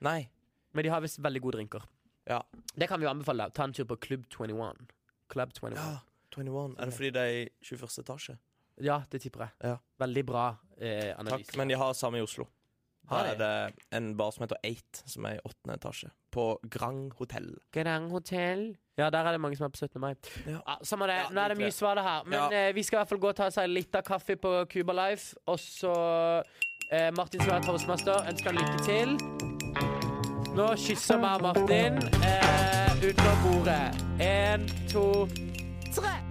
Speaker 1: Nei.
Speaker 2: Men de har visst veldig gode drinker.
Speaker 1: Ja.
Speaker 2: Det kan vi jo anbefale. deg. Ta en tur på Club 21. Club 21.
Speaker 1: Ja, 21. Er det fordi det er i 21. etasje?
Speaker 2: Ja, det tipper jeg.
Speaker 1: Ja.
Speaker 2: Veldig bra eh, analyse.
Speaker 1: Takk, men de har samme i Oslo.
Speaker 2: Har
Speaker 1: Her er det en bar som heter Eight, som er i åttende etasje. På Grand Hotell.
Speaker 2: Grand Hotel. Ja, der er det mange som er på 17. mai.
Speaker 1: Ja.
Speaker 2: Ah, samme det.
Speaker 1: Ja,
Speaker 2: Nå er det
Speaker 1: litt
Speaker 2: mye
Speaker 1: det.
Speaker 2: svar det her. Men
Speaker 1: Ja.
Speaker 2: eh, vi skal i hvert fall gå og ta oss en liten kaffe på Cuba Life. Og så eh, Martin skal være toastmaster. Ønsker han lykke til. Nå kysser vi Martin eh, under bordet. Én, to, tre.